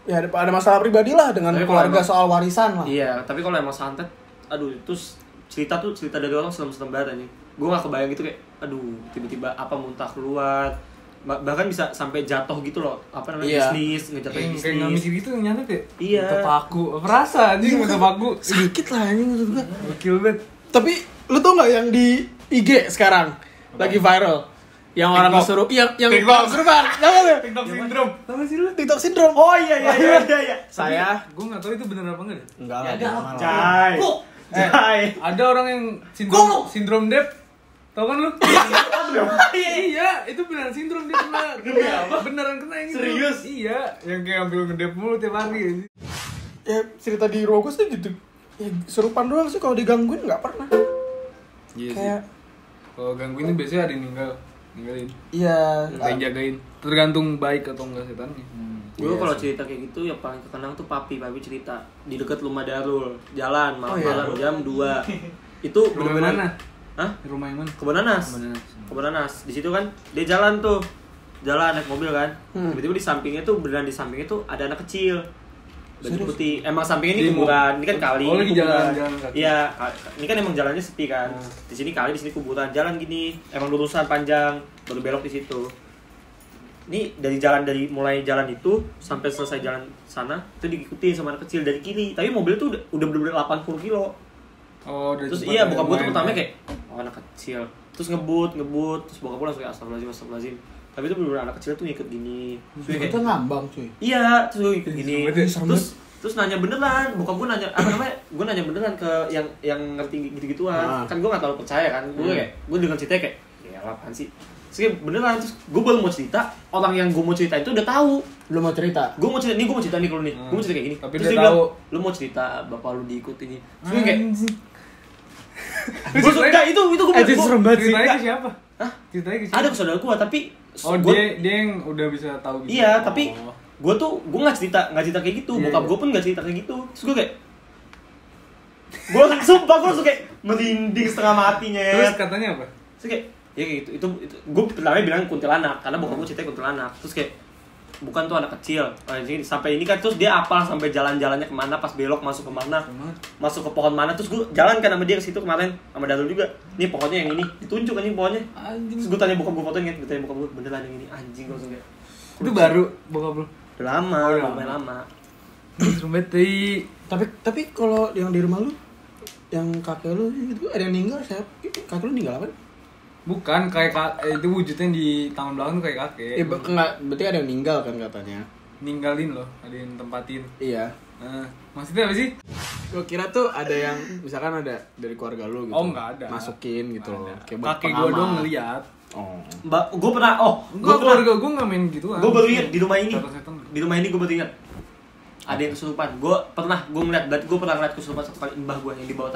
[SPEAKER 2] ya ada, ada masalah pribadi lah dengan
[SPEAKER 3] Tapi kalau
[SPEAKER 2] keluarga
[SPEAKER 3] emang-
[SPEAKER 2] soal warisan lah
[SPEAKER 3] iya tapi kalau emang santet aduh terus cerita tuh cerita dari orang serem serem banget anjing gue nggak kebayang gitu kayak aduh tiba-tiba apa muntah keluar Ba- bahkan bisa sampai jatuh gitu loh apa namanya
[SPEAKER 2] Iya.
[SPEAKER 3] bisnis ngejatuhin
[SPEAKER 1] Kayak kayak nggak
[SPEAKER 3] bisnis
[SPEAKER 1] mikir gitu nyantet ya?
[SPEAKER 3] Iya.
[SPEAKER 1] Muntah paku. Perasa anjing
[SPEAKER 2] Iya.
[SPEAKER 1] muntah
[SPEAKER 2] [LAUGHS]
[SPEAKER 1] paku.
[SPEAKER 2] sakit lah anjing maksud gua.
[SPEAKER 1] Gokil banget.
[SPEAKER 2] Tapi lu tau nggak yang di IG sekarang lagi viral? Yang orang
[SPEAKER 1] TikTok.
[SPEAKER 2] suruh yang yang
[SPEAKER 1] TikTok.
[SPEAKER 2] kesurupan. Tahu nggak?
[SPEAKER 1] TikTok syndrome. Iya, Tahu sih lu?
[SPEAKER 2] TikTok syndrome. Oh iya
[SPEAKER 3] iya iya iya iya
[SPEAKER 2] Saya
[SPEAKER 1] Gue nggak tahu itu bener apa enggak.
[SPEAKER 2] enggak lah.
[SPEAKER 3] Jai Jai
[SPEAKER 1] Ada orang yang sindrom sindrom dep. Tahu kan
[SPEAKER 2] [LAUGHS]
[SPEAKER 1] lu? iya, itu beneran sindrom dia kena.
[SPEAKER 2] Iya.
[SPEAKER 1] Beneran kena yang itu.
[SPEAKER 3] Serius?
[SPEAKER 1] Iya, yang kayak ambil ngedep mulu tiap hari.
[SPEAKER 2] Ya cerita di rumah gua sih gitu. Ya serupan doang sih kalau digangguin nggak pernah.
[SPEAKER 1] Iya
[SPEAKER 2] Kayak
[SPEAKER 1] Kalau gangguin itu biasanya ada yang ninggal, ninggalin,
[SPEAKER 2] iya
[SPEAKER 1] ada yang jagain. Tergantung baik atau enggak setannya.
[SPEAKER 3] Gue
[SPEAKER 2] Iya
[SPEAKER 3] kalau
[SPEAKER 2] sih.
[SPEAKER 3] cerita kayak gitu yang paling terkenang tuh papi, papi cerita di dekat rumah Darul, jalan
[SPEAKER 2] Oh, iya.
[SPEAKER 3] malam-malam jam 2. Itu
[SPEAKER 1] Rumah
[SPEAKER 3] bener-bener-
[SPEAKER 1] mana?
[SPEAKER 3] Hah?
[SPEAKER 1] Rumah yang mana?
[SPEAKER 3] Kebun nanas.
[SPEAKER 1] Kebun nanas.
[SPEAKER 3] Kebun nanas. Di situ kan dia jalan tuh. Jalan naik mobil kan.
[SPEAKER 2] Hmm.
[SPEAKER 3] Tiba-tiba di sampingnya tuh beneran di sampingnya tuh ada anak kecil. Baju
[SPEAKER 2] Serius?
[SPEAKER 3] putih. Emang sampingnya ini
[SPEAKER 1] Di
[SPEAKER 3] kuburan.
[SPEAKER 1] mo-
[SPEAKER 3] Ini kan kali.
[SPEAKER 1] Oh,
[SPEAKER 3] ini
[SPEAKER 1] lagi
[SPEAKER 3] kuburan.
[SPEAKER 1] jalan- jalan kaki.
[SPEAKER 3] Iya, ka- ini kan emang jalannya sepi kan.
[SPEAKER 2] Hmm.
[SPEAKER 3] Di sini kali, di sini kuburan. Jalan gini, emang lurusan panjang, baru belok di situ. Ini dari jalan dari mulai jalan itu sampai selesai jalan sana itu diikuti sama anak kecil dari kiri. Tapi mobil tuh udah, udah bener-bener 80 kilo
[SPEAKER 1] Oh, dari
[SPEAKER 3] terus
[SPEAKER 1] tempat
[SPEAKER 3] iya
[SPEAKER 1] yang
[SPEAKER 3] bokap gue tuh
[SPEAKER 1] main.
[SPEAKER 3] pertama kayak oh anak kecil terus ngebut ngebut terus bokap gue langsung kayak astagfirullahaladzim astagfirullahaladzim tapi itu bener anak kecil tuh ngikut gini terus gue kayak
[SPEAKER 2] Itu ngambang cuy.
[SPEAKER 3] iya terus gue ngikut gini
[SPEAKER 1] Serem banget ya, serem
[SPEAKER 3] terus terus nanya beneran bokap gue nanya apa namanya gue nanya beneran ke yang yang ngerti gitu
[SPEAKER 2] Ah.
[SPEAKER 3] gituan kan gue nggak terlalu percaya kan gue
[SPEAKER 1] Hmm.
[SPEAKER 3] kayak gue dengar ceritanya kayak ya apaan sih terus kayak beneran terus gue baru mau cerita orang yang gue mau cerita itu udah tahu
[SPEAKER 2] Lu mau cerita?
[SPEAKER 3] gue mau cerita nih gue mau cerita nih kalau nih
[SPEAKER 1] Hmm.
[SPEAKER 3] gue mau cerita kayak gini
[SPEAKER 1] Tapi
[SPEAKER 3] terus
[SPEAKER 1] dia
[SPEAKER 3] bilang,
[SPEAKER 1] tahu. Hmm.
[SPEAKER 3] lu mau cerita bapak lu diikutin ini terus gue
[SPEAKER 1] [LAUGHS]
[SPEAKER 3] kayak
[SPEAKER 1] Anjing.
[SPEAKER 3] gue suka itu itu gue
[SPEAKER 2] Eh, itu serem banget sih.
[SPEAKER 1] Ceritanya ke siapa?
[SPEAKER 3] Hah?
[SPEAKER 1] Ceritanya ke siapa?
[SPEAKER 3] ada ke saudara gue tapi
[SPEAKER 1] Oh,
[SPEAKER 3] gua-
[SPEAKER 1] dia dia yang udah bisa tahu gitu.
[SPEAKER 3] iya tapi
[SPEAKER 1] Oh.
[SPEAKER 3] gue tuh gue nggak cerita nggak cerita kayak gitu
[SPEAKER 1] Iya,
[SPEAKER 3] bokap
[SPEAKER 1] iya.
[SPEAKER 3] gue pun nggak cerita kayak gitu terus gue kayak gue sumpah gue langsung kayak merinding setengah matinya
[SPEAKER 1] Terus kan- katanya apa?
[SPEAKER 3] terus kayak ya kayak gitu itu, itu gue pertama bilang kuntilanak karena bokap gue ceritanya kuntilanak terus kayak bukan tuh anak kecil Oh, ini- sampai ini kan terus dia apal sampai jalan-jalannya kemana pas belok masuk kemana masuk ke pohon mana terus gue jalan kan sama dia ke situ kemarin sama Darul juga nih pohonnya yang ini ditunjuk anjing pohonnya terus gue tanya bokap gue fotonya ingat gue tanya bokap gue beneran yang ini anjing gue langsung kayak
[SPEAKER 1] Itu baru bokap lu.
[SPEAKER 3] udah lama
[SPEAKER 1] Oh,
[SPEAKER 3] udah
[SPEAKER 1] iya.
[SPEAKER 3] lumayan lama
[SPEAKER 1] Serem banget. tai.
[SPEAKER 2] Tapi tapi kalau yang di rumah lu yang kakek lu itu ada yang meninggal siapa? Kakek lu meninggal apa?
[SPEAKER 1] Bukan kayak ka- eh, itu wujudnya di tangan belakang tuh kayak kakek.
[SPEAKER 3] Iya,
[SPEAKER 2] Eh, be- enggak, berarti ada yang meninggal kan katanya.
[SPEAKER 1] Ninggalin loh, ada yang tempatin.
[SPEAKER 2] Iya.
[SPEAKER 1] Nah, maksudnya apa sih?
[SPEAKER 3] Gitu.
[SPEAKER 2] Gue kira tuh ada yang misalkan ada dari keluarga lu gitu.
[SPEAKER 1] Oh, enggak ada.
[SPEAKER 2] Masukin gitu
[SPEAKER 1] Nggak
[SPEAKER 2] loh.
[SPEAKER 1] ada.
[SPEAKER 2] Kayak buat
[SPEAKER 1] Kakek gua
[SPEAKER 2] pengaman.
[SPEAKER 1] doang ngeliat.
[SPEAKER 2] Oh.
[SPEAKER 3] mbak gue pernah oh
[SPEAKER 1] Gue
[SPEAKER 3] gue pernah
[SPEAKER 1] keluarga gue nggak main gitu, gituan.
[SPEAKER 3] gue baru ingat di rumah ini
[SPEAKER 1] Setan-setan.
[SPEAKER 3] di rumah ini gue baru ingat ada yang kesurupan gue pernah gue ngeliat berarti gue pernah ngeliat kesurupan satu kali mbah gue yang di bawah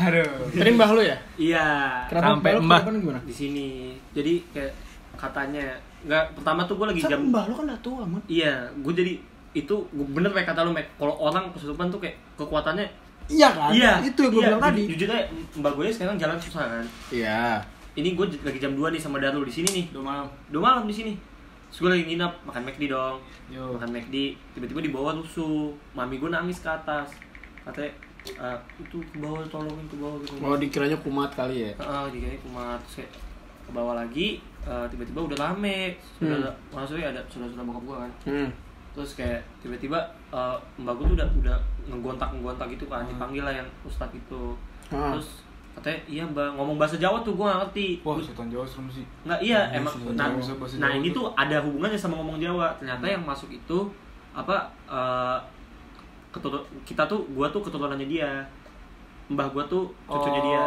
[SPEAKER 1] Aduh.
[SPEAKER 2] Tadi mbah lu ya?
[SPEAKER 3] iya
[SPEAKER 2] Kenapa
[SPEAKER 1] Sampai
[SPEAKER 2] lu
[SPEAKER 1] mbah.
[SPEAKER 2] kenapa lu gimana?
[SPEAKER 3] di sini jadi kayak katanya nggak pertama tuh gue lagi
[SPEAKER 2] Kan
[SPEAKER 3] jam
[SPEAKER 2] mbah lu kan udah tua, man.
[SPEAKER 3] iya gue jadi itu gua bener kayak kata lu Mac kalau orang kesurupan tuh kayak kekuatannya
[SPEAKER 2] Iya kan?
[SPEAKER 3] iya
[SPEAKER 2] Itu yang gue
[SPEAKER 3] iya,
[SPEAKER 2] bilang tadi.
[SPEAKER 3] ju- jujur aja mbak gue sekarang jalan susah kan
[SPEAKER 2] Iya.
[SPEAKER 3] ini gue lagi jam 2 nih sama Darul di sini nih
[SPEAKER 1] Udah malam.
[SPEAKER 3] udah malam di sini terus gue lagi nginap makan McD dong
[SPEAKER 1] Yo.
[SPEAKER 3] makan McD tiba-tiba di bawah rusuh mami gue nangis ke atas katanya "Ah, itu ke bawah tolongin ke bawah gitu
[SPEAKER 2] Kalau dikiranya kumat kali ya.
[SPEAKER 3] Heeh, dikira kumat terus kayak ke bawah lagi eh, tiba-tiba udah rame sudah
[SPEAKER 2] Hmm.
[SPEAKER 3] ada maksudnya ada saudara-saudara bokap gue kan
[SPEAKER 2] Hmm.
[SPEAKER 3] terus kayak tiba-tiba eh, mbak gue tuh udah udah ngegontak ngegontak gitu kan
[SPEAKER 1] Hmm.
[SPEAKER 3] dipanggil lah yang ustadz itu
[SPEAKER 2] Ah.
[SPEAKER 3] terus katanya iya mbak ngomong bahasa Jawa tuh gue gak ngerti
[SPEAKER 1] Wah,
[SPEAKER 3] Gua-
[SPEAKER 1] setan Jawa serem sih.
[SPEAKER 3] Nggak, iya
[SPEAKER 1] Iya,
[SPEAKER 3] emang.
[SPEAKER 1] sih,
[SPEAKER 3] Nah,
[SPEAKER 1] Jawa, bisa bahasa
[SPEAKER 3] nah
[SPEAKER 1] Jawa tuh.
[SPEAKER 3] ini
[SPEAKER 1] Hmm.
[SPEAKER 3] tuh ada hubungannya sama ngomong Jawa. Ternyata yang masuk itu apa eh, ketutu- kita tuh gua tuh keturunannya dia. Mbah gua tuh cucunya dia.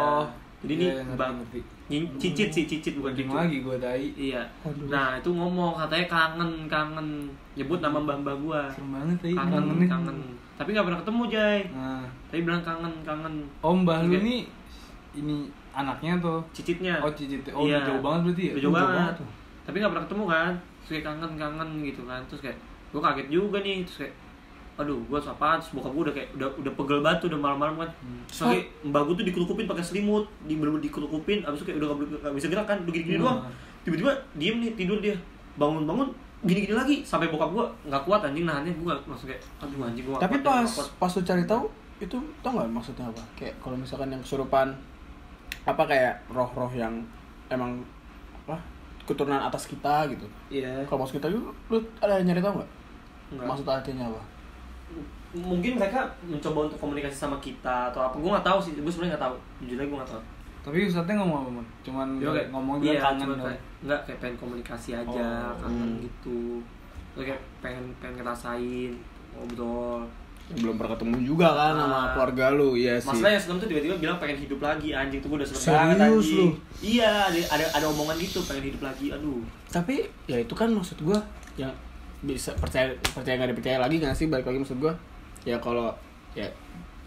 [SPEAKER 3] Jadi ini
[SPEAKER 1] Iya, ngerti,
[SPEAKER 3] mbah
[SPEAKER 1] ngerti.
[SPEAKER 3] nyi- cicit sih, cicit bukan gitu.
[SPEAKER 1] Bukan
[SPEAKER 3] cucu.
[SPEAKER 1] lagi gue tai.
[SPEAKER 3] Iya.
[SPEAKER 2] Waduh.
[SPEAKER 3] Nah, itu ngomong katanya kangen, kangen. Nyebut nama mbah-mbah gua.
[SPEAKER 1] Serem banget tai.
[SPEAKER 3] Kangen,
[SPEAKER 1] nih.
[SPEAKER 3] kangen. Tapi nggak pernah ketemu, Jay.
[SPEAKER 1] Nah,
[SPEAKER 3] Tapi bilang kangen, kangen.
[SPEAKER 1] Om Mbah lu
[SPEAKER 3] Oke.
[SPEAKER 1] nih ini anaknya tuh.
[SPEAKER 3] Cicitnya.
[SPEAKER 1] Oh, cicit. Oh,
[SPEAKER 3] Iya.
[SPEAKER 1] jauh banget berarti ya?
[SPEAKER 3] Udah jauh banget.
[SPEAKER 2] tuh.
[SPEAKER 3] Tapi nggak pernah ketemu kan? Terus kayak kangen-kangen gitu kan. Terus kayak gue kaget juga nih. Terus kayak aduh gue apaan terus bokap gue udah kayak udah udah pegel banget tuh udah malam-malam kan
[SPEAKER 1] Hmm.
[SPEAKER 3] terus lagi mbak gue tuh dikelukupin pakai selimut di bener dikelukupin abis itu kayak udah gak, boleh- nggak bisa gerak kan udah gini-gini
[SPEAKER 1] Hmm.
[SPEAKER 3] doang tiba-tiba diem nih tidur dia bangun-bangun gini-gini lagi sampai bokap gue nggak kuat anjing nahannya gue langsung kayak aduh anjing gue nggak
[SPEAKER 2] Tapi
[SPEAKER 3] kuat, gue
[SPEAKER 2] pas
[SPEAKER 3] nggak kuat."
[SPEAKER 2] pas lu cari tahu itu tau nggak maksudnya apa? Kayak kalau misalkan yang kesurupan apa kayak roh-roh yang emang apa keturunan atas kita gitu.
[SPEAKER 3] iya
[SPEAKER 2] Kalau maksud kita lu, lu ada nyari tahu nggak?
[SPEAKER 3] Nggak.
[SPEAKER 2] Maksud artinya apa?
[SPEAKER 3] mungkin mereka mencoba untuk komunikasi sama kita atau apa gue nggak tahu sih gue sebenarnya nggak tahu jujur aja gue nggak tahu
[SPEAKER 1] Tapi ustadznya ngomong apa, Mon? Cuman
[SPEAKER 3] kayak-
[SPEAKER 1] ngomong bilang kangen
[SPEAKER 3] Iya, cuman
[SPEAKER 1] doang.
[SPEAKER 3] kayak, nggak kayak pengen komunikasi aja
[SPEAKER 1] Oh.
[SPEAKER 3] kangen
[SPEAKER 2] Hmm.
[SPEAKER 3] gitu terus kayak pengen pengen ngerasain ngobrol
[SPEAKER 2] Ya, belum pernah ketemu juga kan sama
[SPEAKER 3] Ah.
[SPEAKER 2] keluarga lu, iya sih.
[SPEAKER 3] masalah yang sebelum tuh tiba-tiba bilang pengen hidup lagi anjing tuh gue udah
[SPEAKER 2] Serius
[SPEAKER 3] serem banget anjing
[SPEAKER 2] lu?
[SPEAKER 3] iya ada, ada ada omongan gitu pengen hidup lagi aduh
[SPEAKER 2] Tapi ya itu kan maksud gua yang bisa percaya percaya nggak dipercaya lagi nggak sih balik lagi maksud gua ya kalau ya